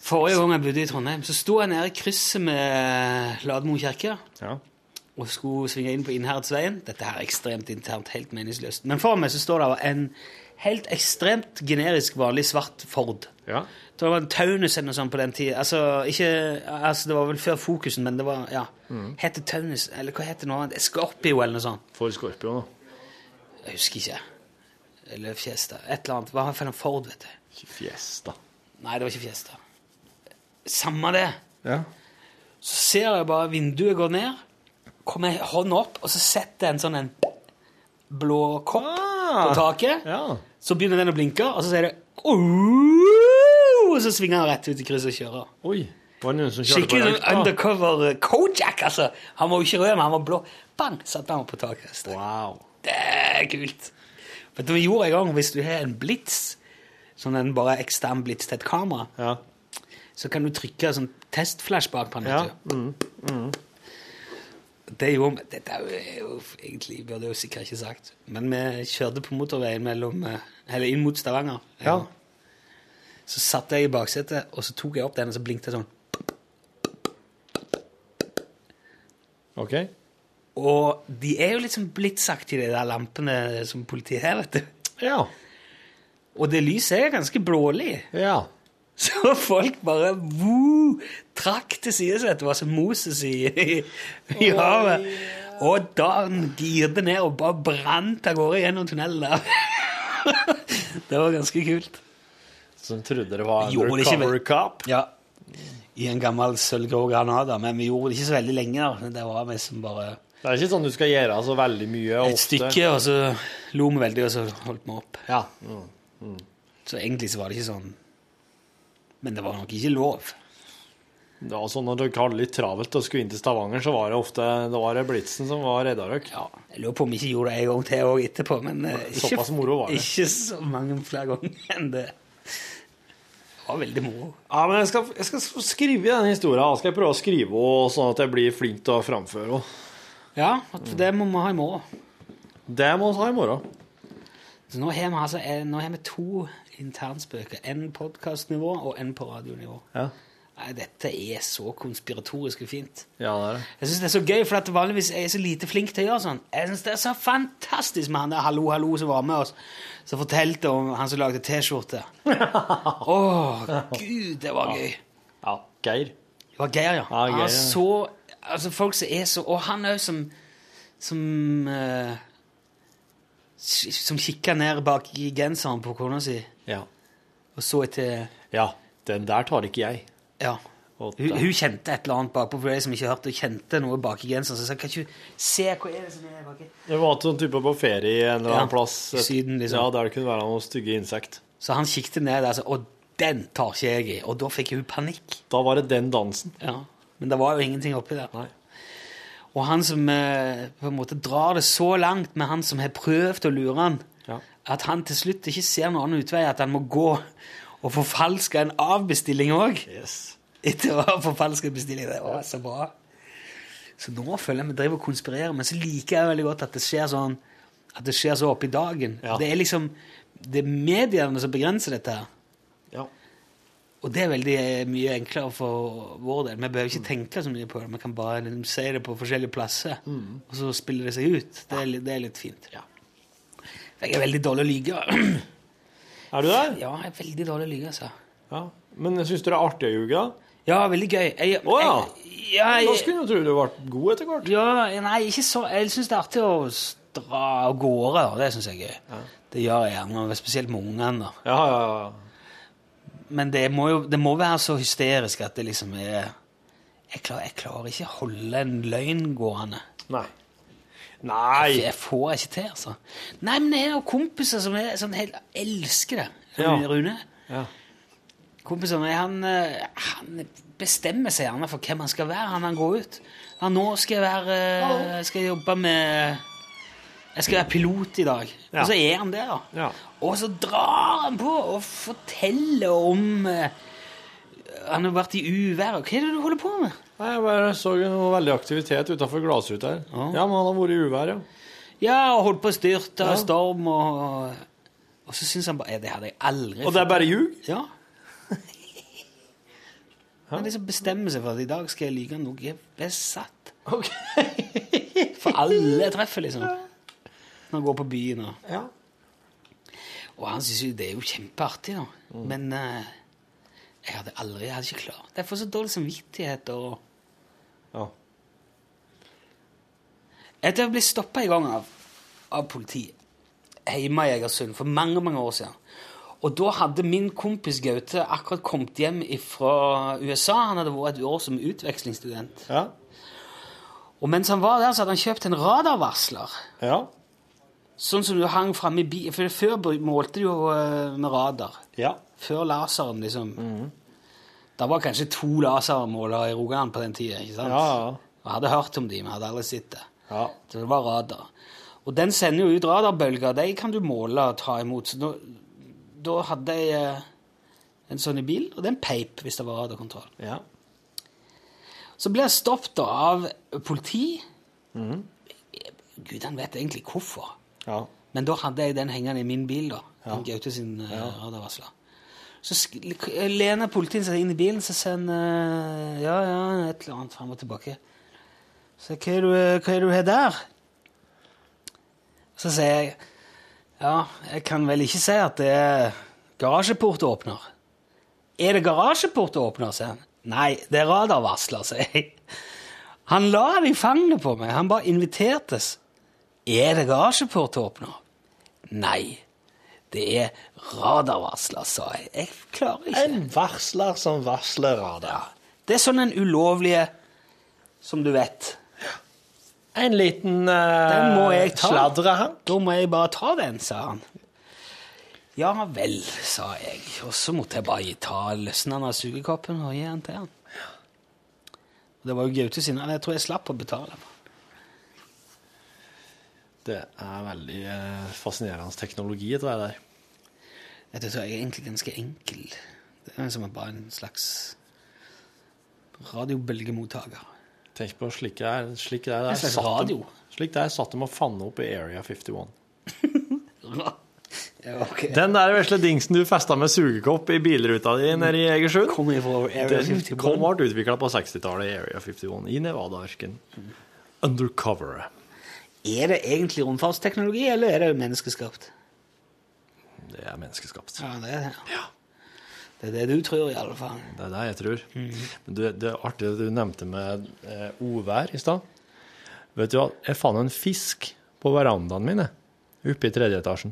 Speaker 2: Forrige gang jeg bodde i Trondheim, så sto jeg nede i krysset med Lademo kirke
Speaker 3: Ja.
Speaker 2: og skulle svinge inn på Innherredsveien. Dette her er ekstremt internt, helt meningsløst. Men foran meg så står det en helt ekstremt generisk vanlig svart Ford.
Speaker 3: Ja.
Speaker 2: Så det var en Taunus eller noe sånt på den tida. Altså, ikke, altså, det var vel før Fokusen, men det var ja. Heter Taunus, eller hva heter det nå? Scorpio eller noe sånt?
Speaker 3: For Skorpion, da.
Speaker 2: Jeg husker ikke. Eller Fiesta. Et eller annet. Hva var det for en Ford, vet du?
Speaker 3: Ikke Fiesta.
Speaker 2: Nei, det var ikke Fiesta. Samme det.
Speaker 3: Ja.
Speaker 2: Så ser jeg bare vinduet går ned, kommer jeg hånden opp, og så setter jeg en sånn en blå kopp
Speaker 9: Ah.
Speaker 2: på taket. Så begynner den å blinke, og så sier det Og så svinger han rett ut i krysset og kjører.
Speaker 9: Oi, var det noen som kjørte på
Speaker 2: Skikkelig
Speaker 9: røyk, da?
Speaker 2: undercover eh, Kojak, altså. Han var jo ikke rød, men han var blå. Bang, satte han på taket. strek. Det er kult. Vet du hva jeg gjorde en gang? Hvis du har en blits, sånn en bare ekstern blits til et kamera, så kan du trykke sånn testflash bak på den. vet du. Det gjorde vi. Dette er jo, er jo egentlig burde jeg jo sikkert ikke sagt. Men vi kjørte på motorveien mellom, eh, eller inn mot Stavanger. Ja. Så satt jeg i baksetet, og så tok jeg opp den, og så blinkte jeg sånn.
Speaker 9: Ok.
Speaker 2: Og de er jo litt sånn blitsaktige, de der lampene som politiet har, vet du.
Speaker 9: Ja.
Speaker 2: Og det lyset er ganske blålig.
Speaker 9: Ja.
Speaker 2: Så folk bare woo, trakk til side seg. Det var som Moses i, i, i havet. Og dagen girte ned og bare brant av gårde gjennom tunnelen der. det var ganske kult.
Speaker 9: Som trodde det var
Speaker 2: Gjorde det ikke
Speaker 9: undercover
Speaker 2: vel-
Speaker 9: cop?
Speaker 2: Ja. I en gammel sølvgrå Granada, men vi gjorde det ikke så veldig lenge. da. Det var liksom bare
Speaker 9: Det er ikke sånn du skal gjøre så veldig mye
Speaker 2: et stykke, og så lo vi veldig, og så holdt vi opp. Ja.
Speaker 9: Mm.
Speaker 2: Så egentlig så var det ikke sånn. Men det var nok ikke lov.
Speaker 9: Ja, så når dere hadde litt travelt og skulle inn til Stavanger, så var det ofte det var det blitsen som var redda dere.
Speaker 2: Jeg lurer på om vi ikke gjorde det en gang til òg etterpå, men eh, ikke,
Speaker 9: Såpass moro var det.
Speaker 2: ikke så mange flere ganger enn det. Det var veldig moro.
Speaker 9: Ja, men jeg skal, jeg skal skrive den historien. og Skal jeg prøve å skrive og sånn at jeg blir flink til å framføre den.
Speaker 2: Ja, for det må vi ha i morgen.
Speaker 9: Det må vi ha i morgen.
Speaker 2: Så nå har vi, altså, eh, nå har vi to internspøker. En podkastnivå og en på radionivå.
Speaker 9: Ja.
Speaker 2: Nei, dette er så konspiratorisk og fint.
Speaker 9: Ja, det er det.
Speaker 2: Jeg syns det er så gøy, for at vanligvis er jeg så lite flink til å gjøre sånn. Jeg synes det er så fantastisk med han der Hallo Hallo som var med oss, som fortalte om han som lagde T-skjorte. Å, gud, det var gøy.
Speaker 9: Ja, Geir.
Speaker 2: Det var Geir,
Speaker 9: Ja,
Speaker 2: ja.
Speaker 9: Geir,
Speaker 2: Han
Speaker 9: ja.
Speaker 2: er så, altså folk som er så Og han òg som Som, eh, s- som kikker ned bak i genseren på kona si
Speaker 9: Ja.
Speaker 2: og så etter
Speaker 9: ja. Den der tar ikke jeg.
Speaker 2: Ja.
Speaker 9: Og
Speaker 2: Hun,
Speaker 9: der-
Speaker 2: hun kjente et eller annet bakpå, for jeg som ikke hørte, hun kjente noe bak i genseren. Så jeg sa, kan ikke du se hva er det som er baki?
Speaker 9: Det var sånn type på ferie en eller annen
Speaker 2: Ja,
Speaker 9: plass.
Speaker 2: i Syden, liksom.
Speaker 9: Ja, der det kunne være noen stygge insekt.
Speaker 2: Så han kikket ned der og sa Å, den tar ikke jeg i. Og da fikk hun panikk.
Speaker 9: Da var det den dansen.
Speaker 2: Ja. Men det var jo ingenting oppi der. Og han som eh, på en måte drar det så langt med han som har prøvd å lure han, at han til slutt ikke ser noen annen utvei, at han må gå og forfalske en avbestilling òg. Etter å ha forfalsket bestilling. Det var så bra. Så nå føler jeg vi driver og konspirerer, men så liker jeg veldig godt at det skjer sånn at det skjer så oppi dagen. Det er liksom det er mediene som begrenser dette her.
Speaker 9: Ja.
Speaker 2: Og det er veldig eh, mye enklere for vår del. Vi behøver ikke tenke så mye på det. Vi kan bare liksom si det på forskjellige plasser,
Speaker 9: Mm.
Speaker 2: og så spiller det seg ut. Det er, litt- det er litt fint. Jeg er veldig dårlig å lyge.
Speaker 9: Er du der?
Speaker 2: Ja, jeg er veldig dårlig å lyge, altså.
Speaker 9: Ja. Men syns du det er artig å ljuge?
Speaker 2: Ja, veldig gøy. Jeg,
Speaker 9: Å ja.
Speaker 2: jeg-
Speaker 9: Nå skulle du tro du ble god etter hvert.
Speaker 2: Ja, nei, ikke så. Jeg syns det er artig å s- dra av gårde, og det syns jeg er gøy. Det gjør jeg gjerne, spesielt med ungene. da. Men det må jo det må være så hysterisk at det liksom er Jeg klarer, jeg klarer ikke å holde en løgn gående.
Speaker 9: Nei. Nei!
Speaker 2: Jeg får ikke til, altså. Nei, men jeg har kompiser som er sånn helt elsker det.
Speaker 9: Ja.
Speaker 2: Rune.
Speaker 9: Ja.
Speaker 2: Kompisen min, han, eh, han bestemmer seg gjerne for hvem han skal være, han han går ut. Ja, nå skal jeg være eh, Skal jeg jobbe med Jeg skal være pilot i dag.
Speaker 9: Ja.
Speaker 2: Og så er han det, da. Og så drar han på og forteller om eh, Han har vært i uvær. og Hva er det du holder på med?
Speaker 9: Nei, Jeg bare så noe veldig aktivitet utafor glassruta her. Ja. men han har vært i uvær, ja.
Speaker 2: Ja, og holdt på å styrte og storm og Og så syns han bare «Ja, Det hadde jeg aldri
Speaker 9: Og det er
Speaker 2: fått
Speaker 9: bare
Speaker 2: til».
Speaker 9: ljug?
Speaker 2: Ja. Han liksom bestemmer seg for at i dag skal jeg lyve noe besatt. for alle jeg treffer, liksom. Når han går på byen og Og han syns jo det er jo kjempeartig, da.
Speaker 9: Mm.
Speaker 2: Men eh, jeg hadde aldri Jeg hadde ikke klart Det er for så dårlig samvittighet og Etter å bli stoppa en gang av, av politiet hjemme i Egersund for mange mange år siden. Og da hadde min kompis Gaute akkurat kommet hjem fra USA. Han hadde vært et år som utvekslingsstudent. Og mens han var der, så hadde han kjøpt en radarvarsler. Sånn som du hang framme i bil For før br- målte du jo eh, med radar. Før laseren, liksom.
Speaker 10: Mhm.
Speaker 2: Det var kanskje to lasermålere i Rogaland på den tida. ikke sant?
Speaker 10: Ja, ja.
Speaker 2: Jeg hadde hørt om de, men hadde aldri sett det.
Speaker 10: Ja.
Speaker 2: Så det var radar. Og den sender jo ut radarbølger. De kan du måle og ta imot. Så da, da hadde jeg eh, en sånn i bil, og den peip hvis det var radarkontroll.
Speaker 3: Ja.
Speaker 2: Så ble jeg stoppet da av politi.
Speaker 10: Mhm.
Speaker 2: Gud, han vet egentlig hvorfor.
Speaker 3: Ja.
Speaker 2: Men da hadde jeg den hengende i min bil, da.
Speaker 3: Ja.
Speaker 2: Den Gaute sin eh, radarvarsler. Så sk- l- lener politiet seg inn i bilen, så sender eh, Ja, ja, et eller annet fram og tilbake. Så hva er du, hva er du har der? Så sier jeg Ja, jeg kan vel ikke si at det er garasjeportåpner. Er det garasjeportåpner, sier han. Nei, det er radarvarsler, sier jeg. Han la det i fanget på meg. Han bare invitertes. Er det garasjeportåpner? Nei, det er radarvarsler, sa jeg. Jeg klarer ikke.
Speaker 3: En varsler som varsler radar.
Speaker 2: Det er sånn en ulovlige som du vet.
Speaker 3: En liten eh,
Speaker 2: Den må jeg ta.
Speaker 3: sladrehank.
Speaker 2: Da må jeg bare ta den, sa han. Ja vel, sa jeg, og så måtte jeg bare gi- ta løsnen av sugekoppen og gi den til han. Det var jo Gaute sin, jeg tror jeg slapp å betale.
Speaker 3: Det er veldig eh, fascinerende teknologi, dette der.
Speaker 2: Dette tror jeg er egentlig ganske enkel. Det er som bare en slags radiobølgemottaker.
Speaker 3: Tenk på slik det er. Slik det er,
Speaker 2: En slags
Speaker 3: satt dem-
Speaker 2: radio.
Speaker 3: Slik det er satt dem og fanne opp i Area 51.
Speaker 2: Ja, ok.
Speaker 3: Den der vesle dingsen du festa med sugekopp i bilruta di nede i Egersund,
Speaker 2: Kom ifra Area
Speaker 3: den
Speaker 2: 51.
Speaker 3: kom og ble utvikla på 60-tallet i Area 51 i Nevada-ørken. Undercover.
Speaker 2: Er det egentlig romfartsteknologi, eller er det menneskeskapt?
Speaker 3: Det er menneskeskapt.
Speaker 2: Ja, det er det. Det er det du tror, i alle fall.
Speaker 3: Det er det jeg tror.
Speaker 2: Mm.
Speaker 3: Men du, det er artig det du nevnte med eh, ovær i stad. Vet du hva, jeg fant en fisk på verandaen min, jeg. Oppe i tredje etasjen.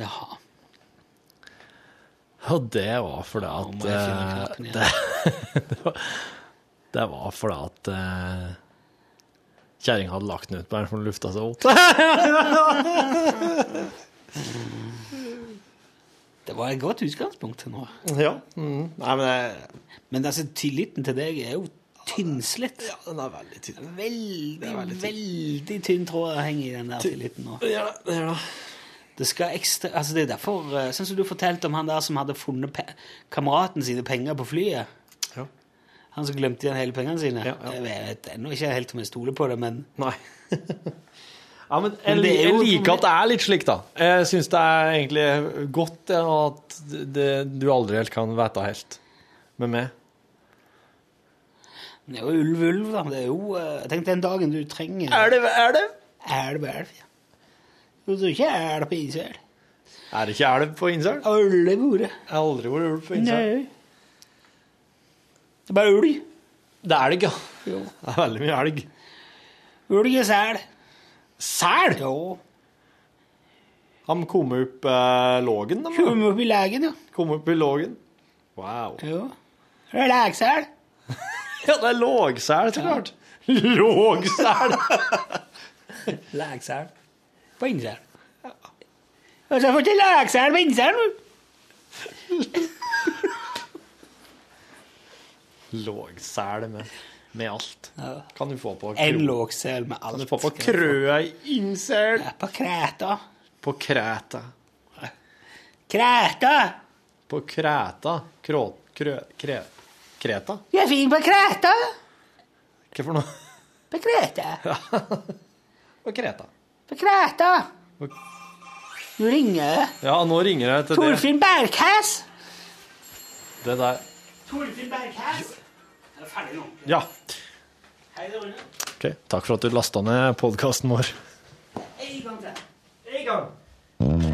Speaker 2: Jaha.
Speaker 3: Og det var fordi
Speaker 2: Nå
Speaker 3: at
Speaker 2: må jeg finne
Speaker 3: eh,
Speaker 2: knappen
Speaker 3: det,
Speaker 2: igjen.
Speaker 3: det var fordi at eh, kjerringa hadde lagt den ut på den, for den lufta seg opp.
Speaker 2: Det var et godt utgangspunkt til nå.
Speaker 3: Ja. Mm. Nei, men jeg,
Speaker 2: Men altså, tilliten til deg er jo tynnslitt.
Speaker 3: den er veldig tydelig.
Speaker 2: Veldig, veldig tynn tråd å henge i den der tilliten nå.
Speaker 3: Ja, det er det.
Speaker 2: Det skal ekstra... Altså, det er derfor... eh, Sånn som du fortalte om han der som hadde funnet pe kameraten sine penger på flyet.
Speaker 3: Ja.
Speaker 2: Han som glemte igjen hele pengene sine.
Speaker 3: Ja, ja.
Speaker 2: Jeg vet ennå ikke helt om jeg stoler på det, men
Speaker 3: Nei. ja, men jeg,
Speaker 2: Men det er jo
Speaker 3: jeg
Speaker 2: et
Speaker 3: liker at det er litt slik, da. Jeg syns det er egentlig godt ja, at det, du aldri helt kan vite helt med meg.
Speaker 2: men det er jo ulv, ulv, da. Det er jo eh, Jeg tenkte den dagen du trenger
Speaker 3: Elv, elv!
Speaker 2: Elv, elv. ja. Du tror ikke elv på Isøl?
Speaker 3: Er det ikke elv på Innsøl?
Speaker 2: Alle bor
Speaker 3: Jeg har aldri vært ulv på Innsøl.
Speaker 2: Nei. Det er bare ulv.
Speaker 3: Det er elg, ja. Det er veldig mye elg.
Speaker 2: Ulv er sel.
Speaker 3: Sel!
Speaker 2: Ja.
Speaker 3: Han kom opp eh, lågen, da. man.
Speaker 2: Kommer opp i legen, ja.
Speaker 3: Kom opp i lågen. Wow.
Speaker 2: ja. Det er legsel.
Speaker 3: Ja, det er lågsel, så klart. Lågsel!
Speaker 2: Legsel. På innsel. Og så har jeg fått en legsel på innsel.
Speaker 3: Lågsel med, med alt.
Speaker 2: Ja.
Speaker 3: Kan du få på
Speaker 2: En
Speaker 3: kro-
Speaker 2: lågsel med alt.
Speaker 3: Kan du få på krøa i innsel?
Speaker 2: Ja, På kræta.
Speaker 3: På kræta.
Speaker 2: Kræta!
Speaker 3: På kræta. Krå... Krø... Kre... Kreta?
Speaker 2: Jeg er fin på kræta!
Speaker 3: Hva for noe?
Speaker 2: På kræta!
Speaker 3: På kreta.
Speaker 2: På kræta!
Speaker 3: Ok.
Speaker 2: Nå ringer jeg.
Speaker 3: Ja, nå ringer jeg til det.
Speaker 2: Torfinn Bergkæs!
Speaker 3: Det der.
Speaker 2: Torfinn Bergkæs! Er du ferdig nå?
Speaker 3: Ja.
Speaker 2: Hei, det er Rune.
Speaker 3: Ok, Takk for at du lasta ned podkasten vår.
Speaker 2: En gang til. En gang.